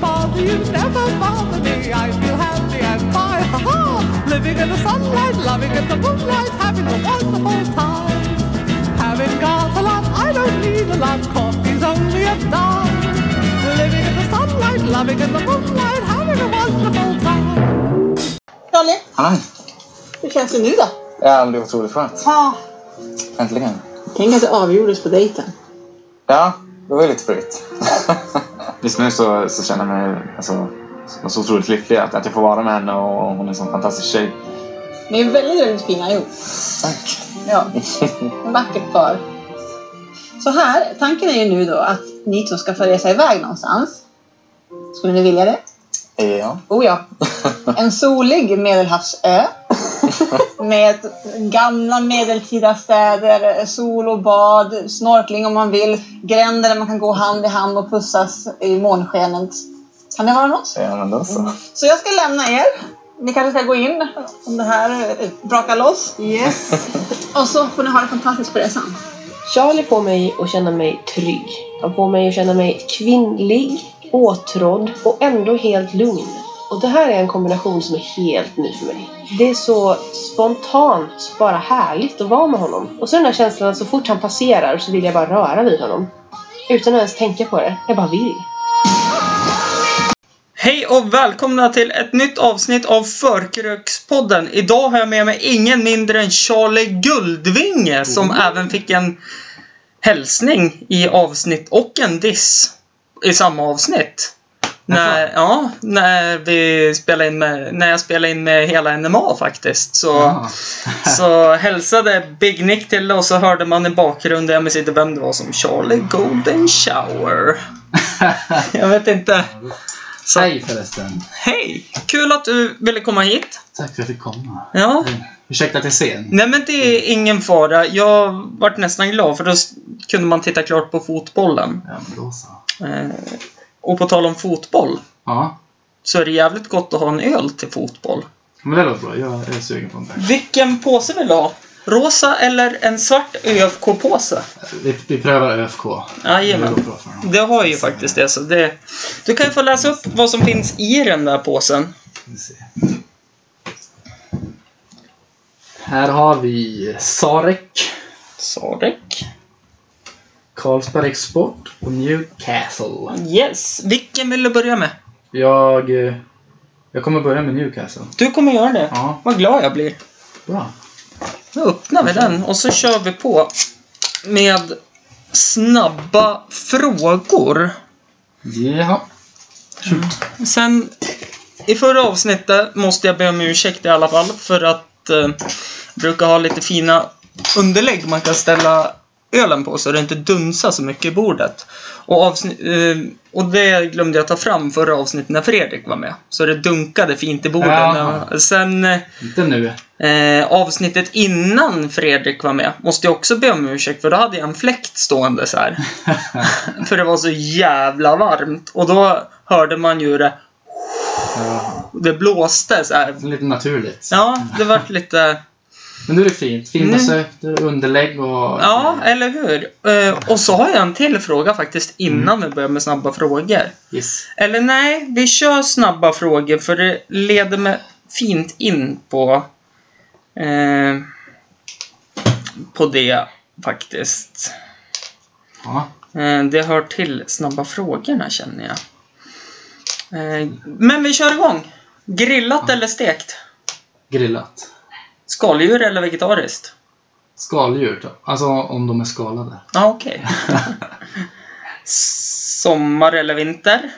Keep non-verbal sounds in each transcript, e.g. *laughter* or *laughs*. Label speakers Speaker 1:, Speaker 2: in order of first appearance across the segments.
Speaker 1: Dreams never bother me. I feel happy and fine. Ha ha! Living in the sunlight, loving in the moonlight, having a wonderful time. Having got a lot, I don't need a lot. Coffee's only a dime. Living in the sunlight, loving in the moonlight, having a wonderful time.
Speaker 2: Dolly,
Speaker 3: Hej!
Speaker 2: hur känns det nu då?
Speaker 3: Ja, men det är otroligt skönt.
Speaker 2: Ah,
Speaker 3: Äntligen.
Speaker 2: tänk att det avgjordes på dejten.
Speaker 3: Ja, det var ju lite *laughs* fritt. Just nu så, så känner jag mig alltså, så otroligt lycklig att, att jag får vara med henne och hon är en sån fantastisk tjej.
Speaker 2: Ni är väldigt runt pinnar ihop.
Speaker 3: Tack! *laughs*
Speaker 2: Ja, en vackert par. Så här, tanken är ju nu då att ni två ska få resa iväg någonstans. Skulle ni vilja det?
Speaker 3: Ja. *laughs*
Speaker 2: Oh ja. En solig medelhavsö. *laughs* Med gamla medeltida städer, sol och bad, snorkling om man vill, gränder där man kan gå hand i hand och pussas i månskenet. Kan det vara något?
Speaker 3: Ja, men då så.
Speaker 2: Så jag ska lämna er. Ni kanske ska gå in om det här eh, brakar loss.
Speaker 4: Yes.
Speaker 2: Och så får ni ha det fantastiskt på resan.
Speaker 4: Charlie får mig att känna mig trygg. Han får mig att känna mig kvinnlig, åtrådd och ändå helt lugn. Och det här är en kombination som är helt ny för mig. Det är så spontant bara härligt att vara med honom. Och så den här känslan att så fort han passerar så vill jag bara röra vid honom. Utan att ens tänka på det. Jag bara vill.
Speaker 5: Hej och välkomna till ett nytt avsnitt av Förkrökspodden. Idag har jag med mig ingen mindre än Charlie Guldvinge som även fick en hälsning i avsnitt och en diss i samma avsnitt. När, ja, när, vi spelade in med, när jag spelade in med hela NMA faktiskt. Så,
Speaker 6: *laughs*
Speaker 5: så hälsade Big Nick till och så hörde man i bakgrunden, jag minns inte vem det var som Charlie Golden Shower. Jag vet inte. Så-
Speaker 6: Hej förresten!
Speaker 5: Hej! Kul att du ville komma hit.
Speaker 6: Tack för att jag fick komma.
Speaker 5: Ja.
Speaker 6: Ursäkta att jag är sen.
Speaker 5: Nej men det är ingen fara. Jag vart nästan glad för då s- kunde man titta klart på fotbollen.
Speaker 6: Ja, men då så.
Speaker 5: Eh, och på tal om fotboll
Speaker 6: Ja,
Speaker 5: så är det jävligt gott att ha en öl till fotboll.
Speaker 6: men det låter bra. Jag är sugen på en tack.
Speaker 5: Vilken påse vill du ha? Rosa eller en svart ÖFK-påse?
Speaker 6: Vi, vi prövar ÖFK. Det
Speaker 5: Jajamän.
Speaker 6: låter bra för honom.
Speaker 5: Det har ju faktiskt det. Så det. Du kan ju få läsa upp vad som finns i den där påsen.
Speaker 6: Ska vi se. Här har vi Sarek,
Speaker 5: Sarek.
Speaker 6: Carlsberg Export och Newcastle.
Speaker 5: Yes. Vilken vill du börja med?
Speaker 6: Jag, eh, jag kommer börja med Newcastle.
Speaker 5: Du kommer göra det.
Speaker 6: Ja,
Speaker 5: Vad glad jag blir.
Speaker 6: bra.
Speaker 5: Då öppnar vi den och så kör vi på med snabba frågor.
Speaker 6: Jaha.
Speaker 5: Sen i förra avsnittet måste jag be om ursäkt i alla fall för att eh, brukar ha lite fina underlägg man kan ställa ölen på så det inte dunsar så mycket i bordet. Och, avsnitt, eh, och det glömde jag ta fram förra avsnittet när Fredrik var med. Så det dunkade fint i bordet.
Speaker 6: Jaha.
Speaker 5: Sen eh,
Speaker 6: Inte nu.
Speaker 5: Eh, avsnittet innan Fredrik var med måste jag också be om ursäkt för då hade jag en fläkt stående så här. för det var så jävla varmt och då hörde man ju det,
Speaker 6: Ja,
Speaker 5: det blåste så här.
Speaker 6: lite naturligt.
Speaker 5: Ja, det vart lite...
Speaker 6: Men nu är det fint. Fina
Speaker 5: Nu-
Speaker 6: sökter, underlägg och...
Speaker 5: Ja, eller hur? Eh, och så har jag en till fråga faktiskt innan vi börjar med snabba frågor.
Speaker 6: Yes.
Speaker 5: Eller nej, vi kör snabba frågor för det leder mig fint in på eh, på det faktiskt.
Speaker 6: Ja.
Speaker 5: Eh, Det hör till snabba frågorna känner jag. Eh, Men vi kör igång! Grillat eller stekt?
Speaker 6: Grillat.
Speaker 5: Skaldjur eller vegetariskt?
Speaker 6: Skaldjur, då. alltså om de är skalade.
Speaker 5: Ja, ah, okej.
Speaker 6: *laughs*
Speaker 5: Sommar eller vinter?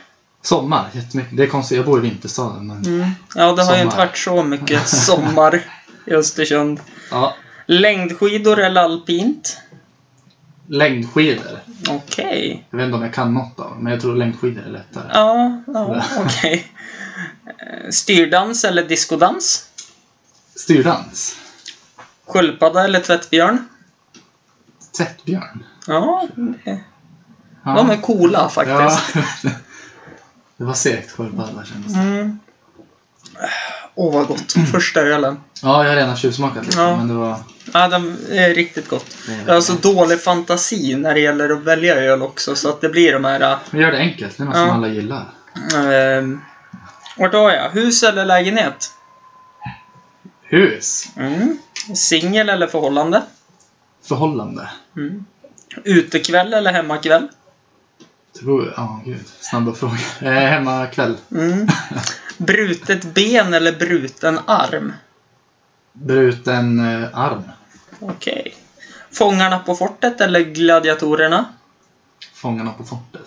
Speaker 6: Sommar, jättemycket. Det är konstigt, jag bor i vinterstaden. Men...
Speaker 5: Mm. Ja, det har ju inte
Speaker 6: Sommar.
Speaker 5: varit så mycket sommar i Östersund.
Speaker 6: Ja,
Speaker 5: Längdskidor eller alpint?
Speaker 6: längdskidor.
Speaker 5: Okej.
Speaker 6: Jag vet inte om jag kan något av dem, men jag tror längdskidor är lättare.
Speaker 5: Ja,
Speaker 6: *laughs*
Speaker 5: ja okej. Eh, Styrdans eller diskodans?
Speaker 6: Styrdans.
Speaker 5: Sköldpadda eller tvättbjörn?
Speaker 6: Tvättbjörn.
Speaker 5: Ja, det-
Speaker 6: Ja.
Speaker 5: de är coola faktiskt.
Speaker 6: Ja. *laughs* Det var segt sköldpadda kändes det.
Speaker 5: Mm. Åh, vad gott. Första ölen.
Speaker 6: Ja, jag har redan tjuvsmakat lite,
Speaker 5: Ja. Alltså-
Speaker 6: men det var...
Speaker 5: Ja, den är riktigt gott.
Speaker 6: det är-
Speaker 5: Jag har så dålig fantasi när det gäller att välja öl också, så att det blir de här... äh,
Speaker 6: Men gör det enkelt, det är något som
Speaker 5: Ja.
Speaker 6: alla gillar.
Speaker 5: Ehm, vart var jag? Hus eller lägenhet?
Speaker 6: Hus.
Speaker 5: Mm. Singel eller förhållande?
Speaker 6: Förhållande.
Speaker 5: Mm. Utekväll eller hemmakväll?
Speaker 6: Det beror... Ja, gud. Snabba frågor. Eh, hemma kväll.
Speaker 5: Mm. Brutet ben eller bruten arm?
Speaker 6: Bruten eh, arm.
Speaker 5: Okej. Fångarna på fortet eller gladiatorerna?
Speaker 6: Fångarna på fortet.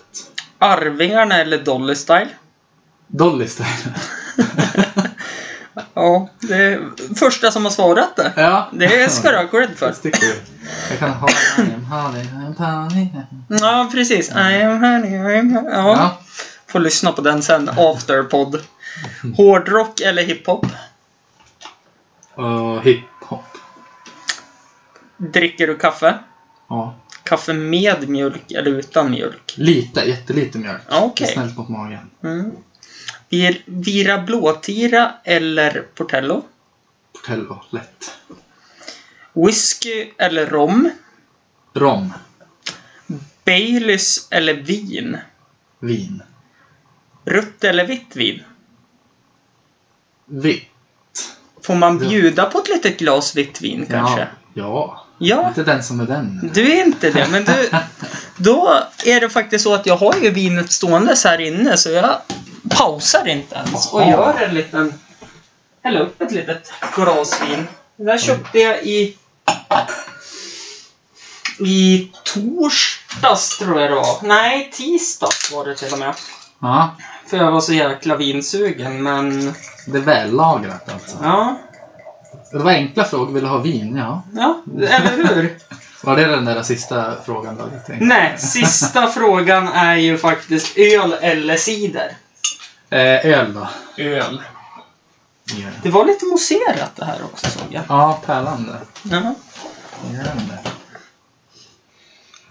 Speaker 5: Arvingarna eller Dolly Style?
Speaker 6: Dolly
Speaker 5: *laughs*
Speaker 6: Style.
Speaker 5: Ja, det är första som har svarat det.
Speaker 6: ja.
Speaker 5: Det ska
Speaker 6: *laughs*
Speaker 5: du ha cred för.
Speaker 6: Jag sticker. Jag kan ha en honey, en honey.
Speaker 5: Ja, precis. I am honey, I am honey. Ja.
Speaker 6: Ja.
Speaker 5: Får lyssna på den sen, afterpod. Hårdrock eller hiphop?
Speaker 6: Och hiphop.
Speaker 5: Dricker du kaffe?
Speaker 6: Ja.
Speaker 5: Kaffe med mjölk eller utan mjölk?
Speaker 6: Lite, jättelite mjölk.
Speaker 5: Ja, okej.
Speaker 6: Snällt mot magen.
Speaker 5: Mm. Vir- Vira blåtira eller portello?
Speaker 6: Portello, lätt.
Speaker 5: Whisky eller rom?
Speaker 6: Rom,
Speaker 5: Baileys eller vin?
Speaker 6: vin.
Speaker 5: Rött eller vitt vin?
Speaker 6: Vitt.
Speaker 5: Får man
Speaker 6: Ja.
Speaker 5: bjuda på ett litet glas vitt vin kanske?
Speaker 6: Ja. ja.
Speaker 5: Ja,
Speaker 6: Inte den som är den.
Speaker 5: du är inte det. Men du, då är det faktiskt så att jag har ju vinet ståendes här inne så jag pausar inte ens och
Speaker 6: Jaha.
Speaker 5: gör en liten... Häller upp ett litet glas vin. Det där köpte jag i... I torsdags tror jag det var. Nej, tisdags var det till och med.
Speaker 6: Ja.
Speaker 5: För jag var så jäkla vinsugen men...
Speaker 6: Det är vällagrat alltså.
Speaker 5: Ja,
Speaker 6: Det var enkla frågor. Vill du ha vin? Ja.
Speaker 5: ja eller hur?
Speaker 6: Var det den där sista frågan då? Jag tänkte?
Speaker 5: Nej, sista frågan är ju faktiskt öl eller cider.
Speaker 6: Eh, öl då?
Speaker 5: Öl.
Speaker 6: Ja.
Speaker 5: Det var lite mousserat det här också såg jag.
Speaker 6: Ja, pärlande.
Speaker 5: Ja.
Speaker 6: Pärlande.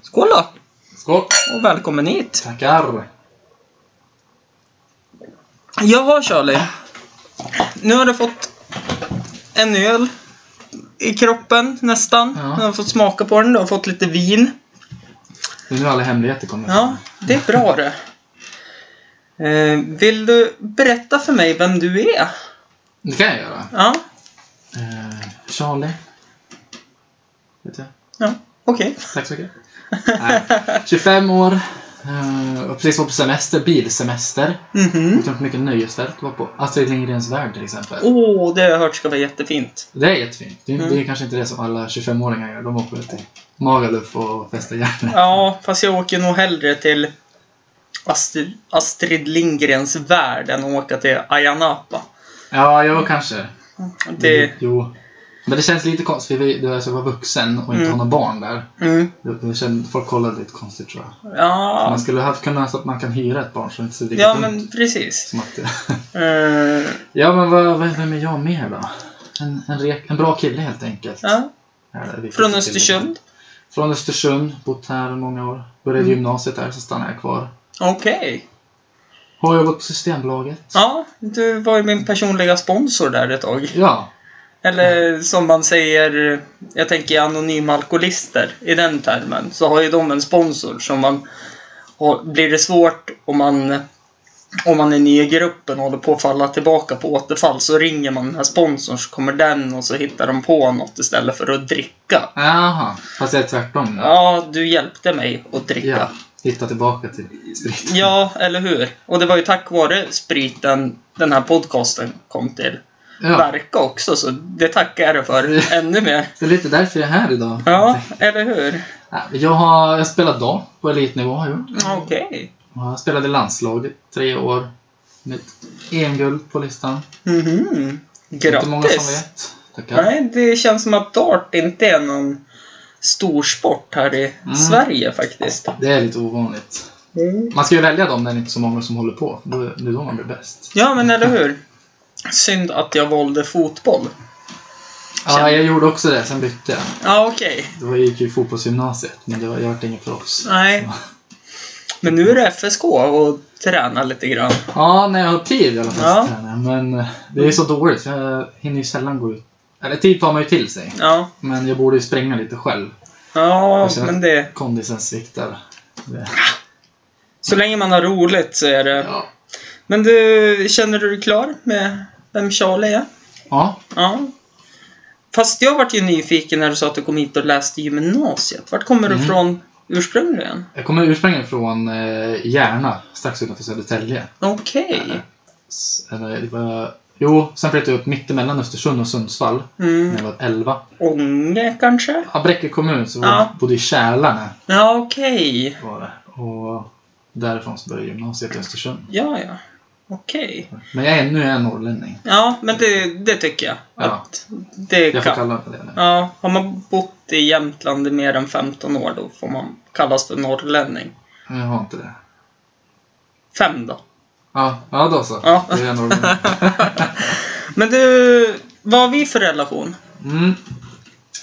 Speaker 5: Skål då!
Speaker 6: Skål!
Speaker 5: Och välkommen hit!
Speaker 6: Tackar!
Speaker 5: Jaha Charlie. Nu har du fått en öl i kroppen nästan.
Speaker 6: Ja.
Speaker 5: Du har fått smaka på den, du har fått lite vin.
Speaker 6: Det är nu alla hemligheter kommer.
Speaker 5: Ja, det är bra det. Eh, vill du berätta för mig vem du är?
Speaker 6: Det kan jag göra.
Speaker 5: Ja,
Speaker 6: Eh, Charlie. Vet jag.
Speaker 5: ja okej.
Speaker 6: Tack så mycket. Nej. 25 år. Eh, och precis var på semester, bilsemester.
Speaker 5: Mhm.
Speaker 6: Åkte runt mycket nöjesfält. Var på Astrid Lindgrens värld till exempel.
Speaker 5: Åh, det har jag hört ska vara jättefint.
Speaker 6: Det är jättefint. Det är,
Speaker 5: Oh. Mm.
Speaker 6: det är kanske inte det som alla 25-åringar gör. De åker väl till Magaluf och festar järnet.
Speaker 5: Ja, fast jag åker nog hellre till Astrid, Astrid Lindgrens värld än att åka till Ayanapa.
Speaker 6: Ja, jo kanske.
Speaker 5: Det...
Speaker 6: Jo. Men det känns lite konstigt. för Vi, du alltså var vuxen och inte
Speaker 5: Mm.
Speaker 6: har några barn där.
Speaker 5: Mm.
Speaker 6: Det, det känns, folk kollade lite konstigt tror jag.
Speaker 5: Ja,
Speaker 6: Man skulle ha haft kunnat så att man kan hyra ett barn så det inte ser lika
Speaker 5: ja
Speaker 6: dumt
Speaker 5: men precis.
Speaker 6: Som att,
Speaker 5: Eh,
Speaker 6: ja, men vad, vad, vem är jag mer då? En, en, rek, en bra kille helt enkelt.
Speaker 5: ja.
Speaker 6: Ja, det är viktigt att
Speaker 5: Från
Speaker 6: tillägga.
Speaker 5: Östersund? Mm.
Speaker 6: Från Östersund. Bott här många år. Började gymnasiet där, så stannade jag kvar.
Speaker 5: Okej.
Speaker 6: Har jobbat på Systembolaget.
Speaker 5: Ja, du var ju min personliga sponsor där ett tag.
Speaker 6: Ja,
Speaker 5: Eller som man säger, jag tänker i anonyma alkoholister, i den termen, så har ju de en sponsor som man har, blir det svårt om man om man är ny i gruppen och håller på att falla tillbaka på återfall så ringer man den här sponsorn så kommer den och så hittar de på något istället för att dricka.
Speaker 6: Jaha, fast det är tvärtom. då.
Speaker 5: Ja, du hjälpte mig att dricka.
Speaker 6: ja. Hitta tillbaka till spriten.
Speaker 5: Ja, eller hur? Och det var ju tack vare spriten den här podcasten kom till
Speaker 6: Ja.
Speaker 5: verka också, så det tackar jag dig för ännu mer.
Speaker 6: Det är lite därför jag är här idag.
Speaker 5: Ja, eller hur?
Speaker 6: Ja, Jag har jag spelat dam på elitnivå. har Jag gjort.
Speaker 5: Okej.
Speaker 6: Och jag spelade i landslaget tre år. Med ett EM-guld på listan.
Speaker 5: Mhm.
Speaker 6: Inte många som
Speaker 5: Grattis!
Speaker 6: vet. Tackar.
Speaker 5: Nej, det känns som att dart inte är någon stor sport här i
Speaker 6: Mm.
Speaker 5: Sverige faktiskt. Mm.
Speaker 6: Det är lite ovanligt. Man ska ju välja dem när det inte är så många som håller på. Då- Det är då man blir bäst.
Speaker 5: Ja, men eller hur? Synd att jag valde fotboll.
Speaker 6: Ja, jag gjorde också det. Sen bytte jag.
Speaker 5: Ja, okej.
Speaker 6: Det var, jag gick ju fotbollsgymnasiet, men det var, jag vart ingen proffs.
Speaker 5: Nej. Men nu är det FSK och tränar lite grann.
Speaker 6: Ja, när jag har tid i alla fall
Speaker 5: Ja.
Speaker 6: så tränar jag. Men eh, det är så dåligt. så Jag hinner ju sällan gå ut. Eller tid tar man ju till sig.
Speaker 5: Ja.
Speaker 6: Men jag borde ju spränga lite själv.
Speaker 5: Ja,
Speaker 6: Jag känner-
Speaker 5: men det...
Speaker 6: Kondisen sviktar. Det-
Speaker 5: Så länge man har roligt så är det...
Speaker 6: Ja.
Speaker 5: Men du, känner du dig klar med vem Charlie är?
Speaker 6: Ja.
Speaker 5: Ja. Fast jag vart ju nyfiken när du sa att du kom hit och läste gymnasiet. Vart kommer du
Speaker 6: Mm.
Speaker 5: från ursprungligen?
Speaker 6: Jag kommer ursprungligen från eh, Järna, strax utanför Södertälje.
Speaker 5: Okej.
Speaker 6: S- Eller, det var, jo, sen flyttade jag upp mittemellan Östersund och Sundsvall när
Speaker 5: Mm.
Speaker 6: jag var 11.
Speaker 5: Ånge kanske?
Speaker 6: Ja, Bräcke kommun, så var,
Speaker 5: Ja.
Speaker 6: bodde i Kälarne.
Speaker 5: Ja, okej.
Speaker 6: Var det. Och därifrån så började gymnasiet i Östersund.
Speaker 5: Ja, ja. Okej.
Speaker 6: Men jag är ännu en norrlänning.
Speaker 5: Ja, men det, det tycker jag.
Speaker 6: Ja.
Speaker 5: Att det
Speaker 6: Jag får
Speaker 5: kan.
Speaker 6: kalla mig det nu.
Speaker 5: Ja, har man bott i Jämtland i mer än 15 år då får man kallas för norrlänning.
Speaker 6: Men Jag har inte det.
Speaker 5: Fem då.
Speaker 6: Ja, ja då så.
Speaker 5: Ja.
Speaker 6: Då är jag norrlänning.
Speaker 5: Men du, vad har vi för relation?
Speaker 6: Mm.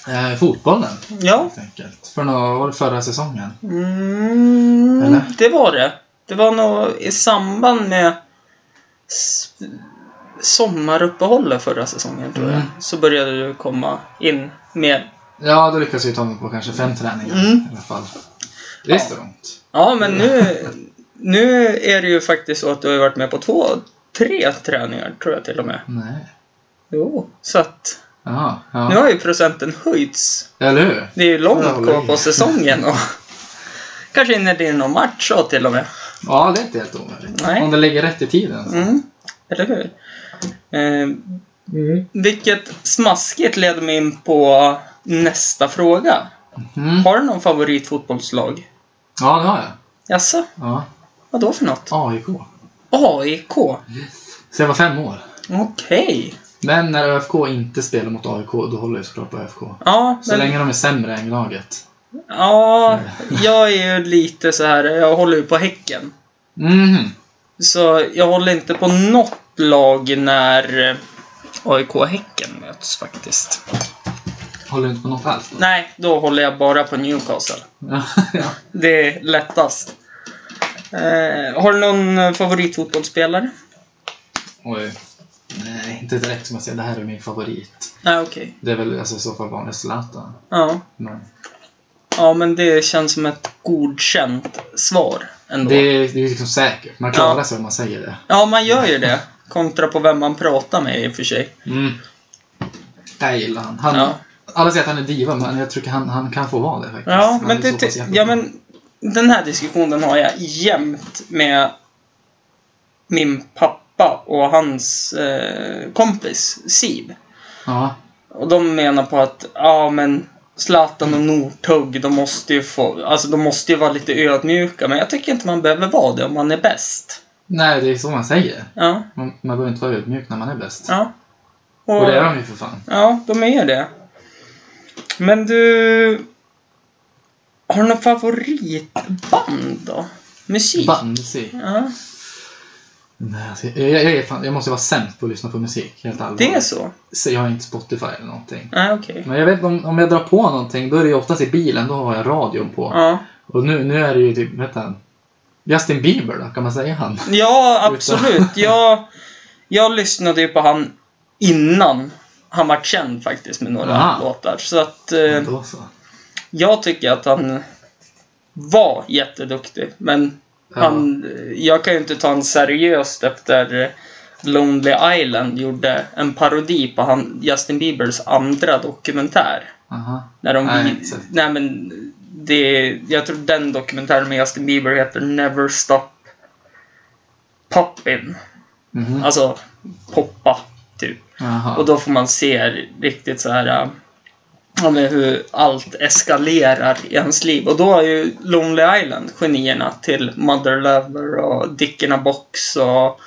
Speaker 6: Eh, fotbollen,
Speaker 5: Ja,
Speaker 6: helt enkelt. För några år förra säsongen.
Speaker 5: mm,
Speaker 6: Eller?
Speaker 5: det var det. Det var nog i samband med s- sommaruppehållet förra säsongen tror jag.
Speaker 6: Mm.
Speaker 5: Så började du komma in mer.
Speaker 6: Ja, då lyckades vi ta mig på kanske fem träningar
Speaker 5: Mm.
Speaker 6: i alla fall. Det är strångt.
Speaker 5: Ja, men nu,
Speaker 6: Mm.
Speaker 5: *laughs* nu är det ju faktiskt så att du har ju varit med på två, tre träningar tror jag till och med.
Speaker 6: Nej.
Speaker 5: Jo, så att
Speaker 6: Jaha,
Speaker 5: nu
Speaker 6: ja.
Speaker 5: har ju procenten höjts.
Speaker 6: Eller hur?
Speaker 5: Det är ju
Speaker 6: Ja,
Speaker 5: långt kvar
Speaker 6: länge.
Speaker 5: på säsongen och
Speaker 6: *laughs*
Speaker 5: kanske hinner det in någon match så till och med.
Speaker 6: Ja, det är inte helt omöjligt.
Speaker 5: Nej.
Speaker 6: Om det ligger rätt i tiden. så.
Speaker 5: Mm, eller hur? Eh,
Speaker 6: Mm.
Speaker 5: Vilket smaskigt leder mig in på nästa fråga.
Speaker 6: Mm.
Speaker 5: Har du någon favoritfotbollslag?
Speaker 6: Ja, det har jag.
Speaker 5: Jaså?
Speaker 6: Ja.
Speaker 5: Vad då för något?
Speaker 6: AIK.
Speaker 5: AIK? Okej.
Speaker 6: Så jag var fem år. Men när ÖFK inte spelar mot AIK, då håller jag såklart på ÖFK.
Speaker 5: Ja,
Speaker 6: Så
Speaker 5: men,
Speaker 6: länge de är sämre än laget.
Speaker 5: ja, jag är ju lite så här. Jag håller ju på Häcken.
Speaker 6: Mhm.
Speaker 5: Så jag håller inte på något lag när eh, AIK och Häcken möts faktiskt.
Speaker 6: Håller du inte på något alls?
Speaker 5: Nej, då håller jag bara på Newcastle.
Speaker 6: Ja, ja.
Speaker 5: Det är lättast. Eh, har du någon eh, favoritfotbollsspelare?
Speaker 6: *laughs* Oj. Nej, inte direkt som jag säger. Det här är min favorit.
Speaker 5: Nej, okej.
Speaker 6: Det är väl alltså, i så fall vanligt Zlatan.
Speaker 5: Ja.
Speaker 6: Men
Speaker 5: ja, men det känns som ett godkänt svar ändå.
Speaker 6: det, är- det är liksom säkert. Man klarar
Speaker 5: Ja.
Speaker 6: sig om man säger det.
Speaker 5: Ja, man gör ju det. Kontra på vem man pratar med i och för sig.
Speaker 6: Mm. Jag gillar han. han
Speaker 5: Ja.
Speaker 6: Alla säger att han är diva, men jag tycker han, han kan få vara det faktiskt.
Speaker 5: Ja,
Speaker 6: Han
Speaker 5: men,
Speaker 6: är
Speaker 5: det,
Speaker 6: så pass
Speaker 5: det,
Speaker 6: jävla
Speaker 5: ja,
Speaker 6: bra.
Speaker 5: men den här diskussionen har jag jämt med min pappa och hans eh, kompis Siv.
Speaker 6: Ja.
Speaker 5: Och de menar på att, ja men Zlatan och Northug, de måste ju få, alltså de måste ju vara lite ödmjuka. Men jag tycker inte man behöver vara det om man är bäst.
Speaker 6: Nej, det är så man säger.
Speaker 5: Ja,
Speaker 6: Man, man behöver inte vara ödmjuk när man är bäst.
Speaker 5: ja.
Speaker 6: Och det är de ju för fan.
Speaker 5: Ja, de är det. Men du... Har du något favoritband då? Musik?
Speaker 6: Bandmusik.
Speaker 5: Ja,
Speaker 6: Nej, alltså, jag, jag, jag, är fan, jag måste vara sämst på att lyssna på musik. Helt allvarligt.
Speaker 5: det är så?
Speaker 6: så. Jag har inte Spotify eller någonting.
Speaker 5: Nej, okej.
Speaker 6: Men jag vet om, om jag drar på någonting, då är det ju oftast i bilen. Då har jag radion på.
Speaker 5: Ja.
Speaker 6: Och nu, nu är det ju typ, vet han, Justin Bieber då, kan man säga han?
Speaker 5: ja, absolut. Jag, jag lyssnade ju på han innan han var känd faktiskt med några
Speaker 6: Aha.
Speaker 5: låtar. Så att eh,
Speaker 6: Då så.
Speaker 5: jag tycker att han var jätteduktig. Men
Speaker 6: Ja.
Speaker 5: han, jag kan ju inte ta honom seriöst efter eh, Lonely Island gjorde en parodi på han, Justin Biebers andra dokumentär.
Speaker 6: Aha.
Speaker 5: När de,
Speaker 6: Nej,
Speaker 5: nej,
Speaker 6: inte sett.
Speaker 5: nej men det, jag tror den dokumentären med Justin Bieber heter Never Stop Poppin.
Speaker 6: Mhm.
Speaker 5: Alltså poppa, typ.
Speaker 6: Aha.
Speaker 5: Och då får man se riktigt så här äh, ja, men hur allt eskalerar i ens liv. Och då är ju Lonely Island genierna till Mother Lover och Dick in a Box och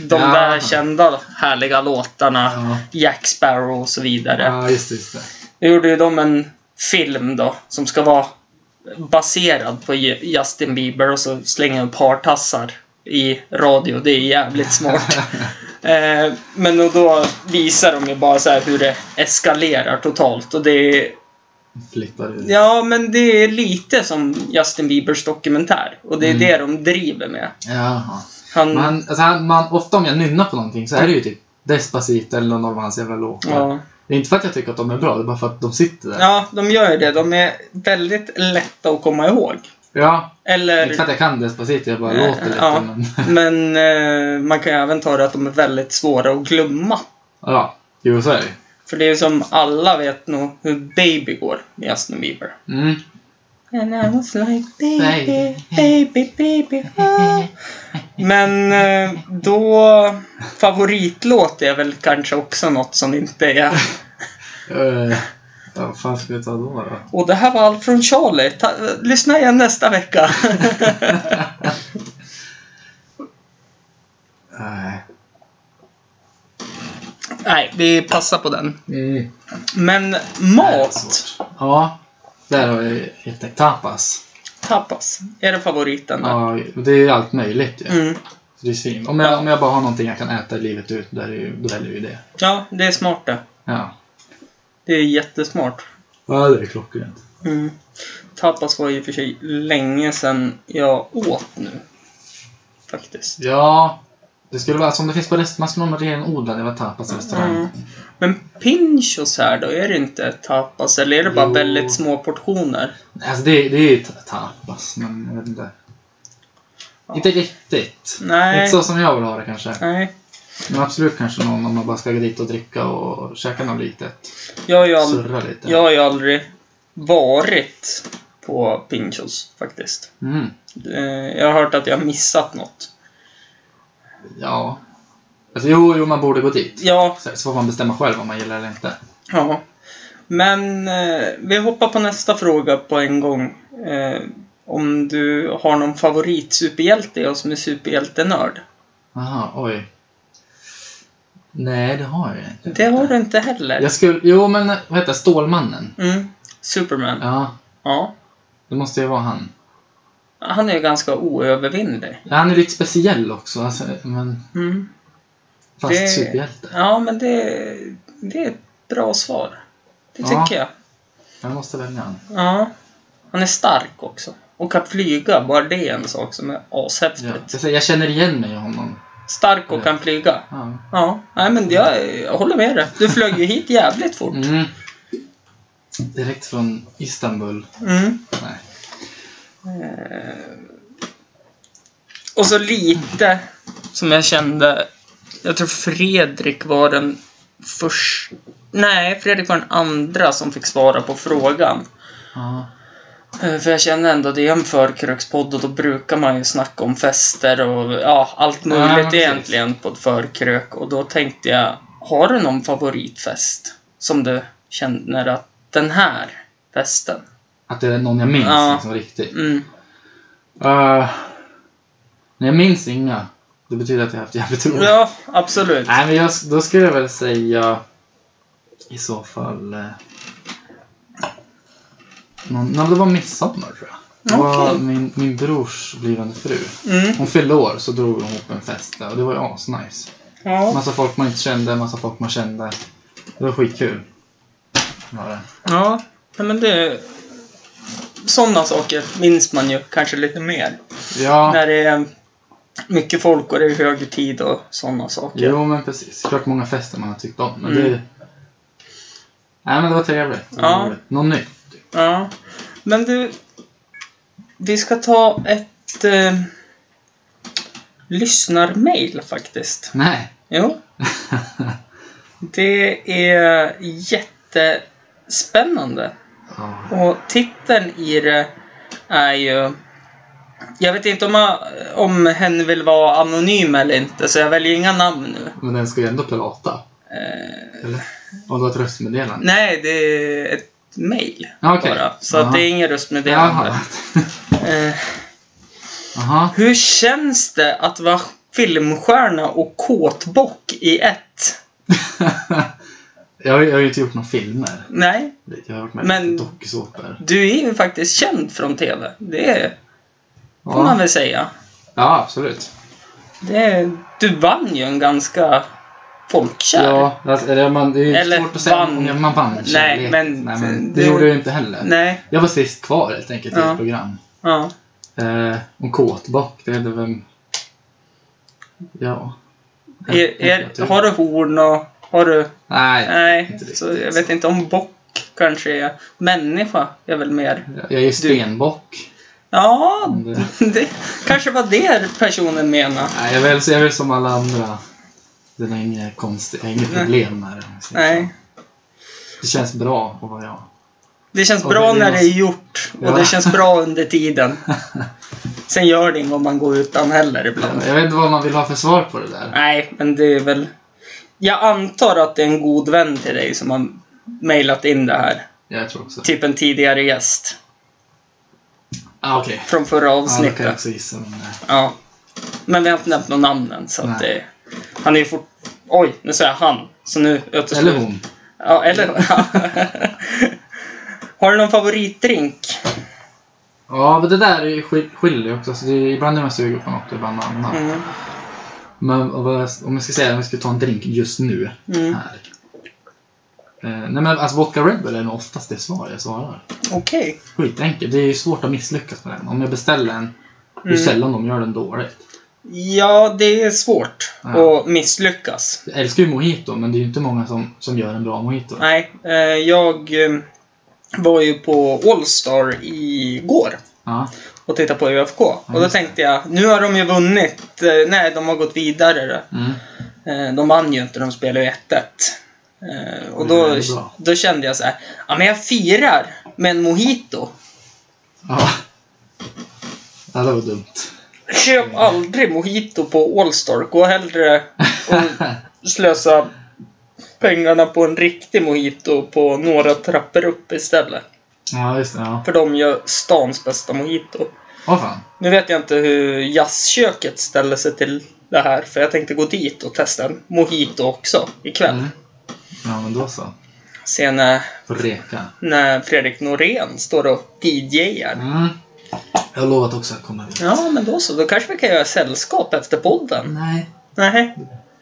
Speaker 5: de
Speaker 6: Ja.
Speaker 5: där kända härliga låtarna.
Speaker 6: Ja.
Speaker 5: Jack Sparrow och så vidare.
Speaker 6: Ja, just det, just det.
Speaker 5: Nu gjorde ju de en film då som ska vara baserad på Ju- Justin Bieber och så slänger de ett par tassar i radio. Det är jävligt
Speaker 6: *laughs*
Speaker 5: smart. eh, men och då visar de ju bara så här hur det eskalerar totalt och det är
Speaker 6: Flippar ut.
Speaker 5: Ja, men det är lite som Justin Biebers dokumentär och det är
Speaker 6: Mm.
Speaker 5: det de driver med.
Speaker 6: Jaha.
Speaker 5: Han,
Speaker 6: Man, alltså, han- man, ofta om jag nynnar på någonting så är det ju typ Despacito eller någon av hans jävla låtar.
Speaker 5: ja.
Speaker 6: Det är inte för att jag tycker att de är bra, det är bara för att de sitter där.
Speaker 5: ja, de gör ju det. De är väldigt lätta att komma ihåg.
Speaker 6: Ja,
Speaker 5: Eller,
Speaker 6: inte för att jag kan Despacito, jag bara
Speaker 5: Eh,
Speaker 6: låter lite.
Speaker 5: ja.
Speaker 6: Men, *laughs*
Speaker 5: men eh, man kan ju även ta det att de är väldigt svåra att glömma.
Speaker 6: ja, jo så är det
Speaker 5: För det är ju som alla vet nog hur Baby går med Justin Bieber.
Speaker 6: mm.
Speaker 5: And I was like baby,
Speaker 6: Nej.
Speaker 5: baby, baby. ah." Men eh, då... Favoritlåt är väl kanske också något som inte är...
Speaker 6: Eh, ja, vad fan ska vi ta då? då?
Speaker 5: Och det här var allt från Charlie. Ta, lyssna igen nästa
Speaker 6: *laughs*
Speaker 5: vecka.
Speaker 6: Nej.
Speaker 5: Nej, vi passar på den.
Speaker 6: Mm.
Speaker 5: Men
Speaker 6: Nej, det är
Speaker 5: mat,
Speaker 6: svårt. Ja, där har vi lite tapas.
Speaker 5: tapas, är det favoriten? där?
Speaker 6: Ja, det är ju allt möjligt ju.
Speaker 5: Mm.
Speaker 6: Så Det är svin. Om, jag, om jag bara har någonting jag kan äta livet ut, där är ju, då väljer vi det.
Speaker 5: Ja, det är smart det.
Speaker 6: Ja.
Speaker 5: Det är jättesmart.
Speaker 6: ja, det är klockrent.
Speaker 5: Mm. Tapas var ju för sig länge sedan jag åt nu. Faktiskt.
Speaker 6: Ja, det skulle vara som det finns på restaurang, man renodlade, det var tapasrestaurang.
Speaker 5: Mm. Men pinchos här då, är det inte tapas eller är det bara
Speaker 6: Jo.
Speaker 5: väldigt små portioner?
Speaker 6: Alltså det, det är ju ta- tapas, men jag vet inte. Inte riktigt.
Speaker 5: Nej.
Speaker 6: Inte så som jag vill ha det kanske.
Speaker 5: Nej.
Speaker 6: Men absolut kanske någon om man bara ska gå dit och dricka och käka något litet.
Speaker 5: Jag har ju, aldrig,
Speaker 6: Surra lite.
Speaker 5: jag har ju aldrig varit på pinchos faktiskt.
Speaker 6: Mm.
Speaker 5: Eh, Jag har hört att jag har missat något.
Speaker 6: Ja. Alltså jo, jo, man borde gå dit.
Speaker 5: Ja,
Speaker 6: Så, så får man bestämma själv om man gillar eller inte.
Speaker 5: Ja. Men eh, vi hoppar på nästa fråga på en gång. Eh, om du har någon favoritsuperhjälte, jag som är superhjältenörd.
Speaker 6: Aha, oj. Nej, det har jag inte.
Speaker 5: Det har du inte heller.
Speaker 6: Jag skulle, jo men vad heter det? Stålmannen?
Speaker 5: Mm. Superman.
Speaker 6: Ja,
Speaker 5: Ja.
Speaker 6: det måste ju vara han.
Speaker 5: Han är ju ganska oövervinnlig.
Speaker 6: Han är lite speciell också, alltså, men
Speaker 5: Mm.
Speaker 6: fast
Speaker 5: Det-
Speaker 6: superhjälte.
Speaker 5: Ja, men det, det är ett bra svar. Det tycker
Speaker 6: Ja.
Speaker 5: jag.
Speaker 6: Jag måste välja han.
Speaker 5: Ja. Han är stark också. Och kan flyga, bara det är en sak som är
Speaker 6: Ja.
Speaker 5: ashäftigt.
Speaker 6: Jag, säger, jag känner igen mig i honom.
Speaker 5: Stark och kan flyga.
Speaker 6: Ja.
Speaker 5: Ja, nej men jag, jag håller med dig. Du flög ju hit jävligt fort.
Speaker 6: Mm. Direkt från Istanbul.
Speaker 5: Mm.
Speaker 6: Nej.
Speaker 5: Eh, Och så lite som jag kände. Jag tror Fredrik var den första... Nej, Fredrik var den andra som fick svara på frågan.
Speaker 6: Ja.
Speaker 5: Eh, För jag känner ändå det är en förkrökspodd och då brukar man ju snacka om fester och ja, allt
Speaker 6: Ja,
Speaker 5: möjligt
Speaker 6: precis.
Speaker 5: egentligen på ett förkrök. Och då tänkte jag, har du någon favoritfest? Som du känner att den här festen?
Speaker 6: Att det är någon jag minns
Speaker 5: Ja.
Speaker 6: liksom riktigt.
Speaker 5: Mm.
Speaker 6: Eh, nej, jag minns inga. Det betyder att jag har haft jävligt roligt.
Speaker 5: Ja, absolut.
Speaker 6: Nej, men jag, då skulle jag väl säga i så fall... Eh, någon, någon, det var midsommar tror jag. Det var
Speaker 5: Okej.
Speaker 6: min, min brors blivande fru.
Speaker 5: Mm.
Speaker 6: Hon fyllde år så drog hon ihop en fest där och det var ju asnice.
Speaker 5: Ja.
Speaker 6: Massa folk man inte kände, massa folk man kände. Det var skitkul. Var det.
Speaker 5: ja, nej, men det... Sådana saker minns man ju kanske lite mer.
Speaker 6: Ja,
Speaker 5: När det är mycket folk och det är hög tid och sådana saker.
Speaker 6: jo men precis. Klart många fester man har tyckt om. Men det...
Speaker 5: Mm.
Speaker 6: Nej men det var trevligt. Det var
Speaker 5: Ja.
Speaker 6: roligt. Något nytt.
Speaker 5: Ja. Men du, vi ska ta ett eh, lyssnarmail faktiskt.
Speaker 6: Nej.
Speaker 5: Jo, det är jättespännande.
Speaker 6: Ja.
Speaker 5: Och titeln i det är ju... Jag vet inte om, jag, om hen vill vara anonym eller inte, så jag väljer inga namn nu.
Speaker 6: Men den ska ju ändå prata.
Speaker 5: Eh,
Speaker 6: Eller? Om du har ett röstmeddelande?
Speaker 5: nej, det är ett mejl
Speaker 6: Ja, okej.
Speaker 5: bara. Så att
Speaker 6: Aha.
Speaker 5: det är inget röstmeddelande.
Speaker 6: *laughs* Jaha.
Speaker 5: Eh,
Speaker 6: Jaha.
Speaker 5: hur känns det att vara filmstjärna och kåtbock i ett?
Speaker 6: jag, har, ju- jag har ju inte gjort några filmer.
Speaker 5: Nej,
Speaker 6: Jag har varit med
Speaker 5: Men-
Speaker 6: i lite dokusåpor.
Speaker 5: du är ju faktiskt känd från TV. Det får man
Speaker 6: Ja.
Speaker 5: väl säga.
Speaker 6: ja, absolut.
Speaker 5: Det, du vann ju en ganska folkkär.
Speaker 6: Ja, alltså, eller man, det är ju
Speaker 5: Eller
Speaker 6: svårt att säga
Speaker 5: vann.
Speaker 6: om man vann kärlek.
Speaker 5: men-
Speaker 6: Nej, men det,
Speaker 5: det-
Speaker 6: gjorde jag ju inte heller.
Speaker 5: Nej.
Speaker 6: Jag var sist kvar helt enkelt i
Speaker 5: Ja.
Speaker 6: ett program.
Speaker 5: Ja.
Speaker 6: Eh, och kåtbock, det är det väl... Ja.
Speaker 5: Är, är, har du horn och... Har du...
Speaker 6: Nej,
Speaker 5: Nej,
Speaker 6: inte riktigt.
Speaker 5: så jag vet inte om bock kanske är... Människa är väl mer...
Speaker 6: Jag är ju stenbock.
Speaker 5: Ja,
Speaker 6: Men det-
Speaker 5: det kanske var det personen menade.
Speaker 6: Nej, jag är väl, jag är väl som alla andra. Den har inga, konst, jag har inga problem med det.
Speaker 5: Nej.
Speaker 6: Det känns bra att vara jag.
Speaker 5: Det känns
Speaker 6: Och
Speaker 5: bra
Speaker 6: det är
Speaker 5: när det är
Speaker 6: något-
Speaker 5: gjort och
Speaker 6: Ja.
Speaker 5: det känns bra under
Speaker 6: *laughs*
Speaker 5: tiden. Sen gör det inget om man går utan heller ibland.
Speaker 6: Jag vet inte vad man vill ha för svar på det där.
Speaker 5: Nej, men det är väl... Jag antar att det är en god vän till dig som har mejlat in det här.
Speaker 6: Jag tror också.
Speaker 5: Typ en tidigare gäst
Speaker 6: Ah, okej.
Speaker 5: från förra
Speaker 6: Ja, då kan jag
Speaker 5: avsnittet.
Speaker 6: också gissa. Men, eh,
Speaker 5: Ja. Men vi har inte nämnt någon namn än, så att det,
Speaker 6: Nej.
Speaker 5: Han är ju fort... Oj, nu säger jag han. Så nu
Speaker 6: eller
Speaker 5: utesluter...
Speaker 6: hon.
Speaker 5: Ja, *laughs* eller... har du någon favoritdrink?
Speaker 6: Ja, men det där är ju skil- skiljer ju också. Så det är, ibland är man sugen på något och ibland något annat.
Speaker 5: Mm.
Speaker 6: Men och vad, om jag ska säga om jag ska ta en drink just nu.
Speaker 5: Mm.
Speaker 6: Här. Eh, nej men alltså vodka Red Bull är nog oftast det svar jag svarar.
Speaker 5: Okej.
Speaker 6: Skitenkelt. Det är ju svårt att misslyckas med den. Om jag beställer en, det är
Speaker 5: Mm.
Speaker 6: sällan de gör den dåligt.
Speaker 5: Ja, det är svårt
Speaker 6: Ja.
Speaker 5: att misslyckas.
Speaker 6: Jag älskar ju mojito, men det är ju inte många som, som gör en bra mojito.
Speaker 5: Nej, eh, jag eh, var ju på Allstar igår
Speaker 6: Ja.
Speaker 5: och tittade på UFK. och då
Speaker 6: just det.
Speaker 5: tänkte jag, nu har de ju vunnit. Eh, nej, de har gått vidare. då.
Speaker 6: Mm.
Speaker 5: Eh, de vann ju inte, de spelade ju 1-1. Eh, och
Speaker 6: Det är
Speaker 5: då,
Speaker 6: väldigt bra.
Speaker 5: då kände jag så här, ja men jag firar med en mojito.
Speaker 6: Ja. ja, det var dumt.
Speaker 5: Köp
Speaker 6: Mm.
Speaker 5: aldrig mojito på Allstar. Gå hellre
Speaker 6: *laughs*
Speaker 5: och slösa pengarna på en riktig mojito på några trappor upp istället.
Speaker 6: Ja, just det. Ja.
Speaker 5: För de gör stans bästa mojito.
Speaker 6: Åh fan.
Speaker 5: Nu vet jag inte hur jazzköket ställer sig till det här. För jag tänkte gå dit och testa en mojito också ikväll. eh,
Speaker 6: Mm. Ja, men då så.
Speaker 5: Se när,
Speaker 6: Får reka.
Speaker 5: när Fredrik Norén står och DJar.
Speaker 6: Mm. Jag har lovat också att komma dit.
Speaker 5: Ja, men då så. Då kanske vi kan göra sällskap efter podden.
Speaker 6: Nej.
Speaker 5: Nej.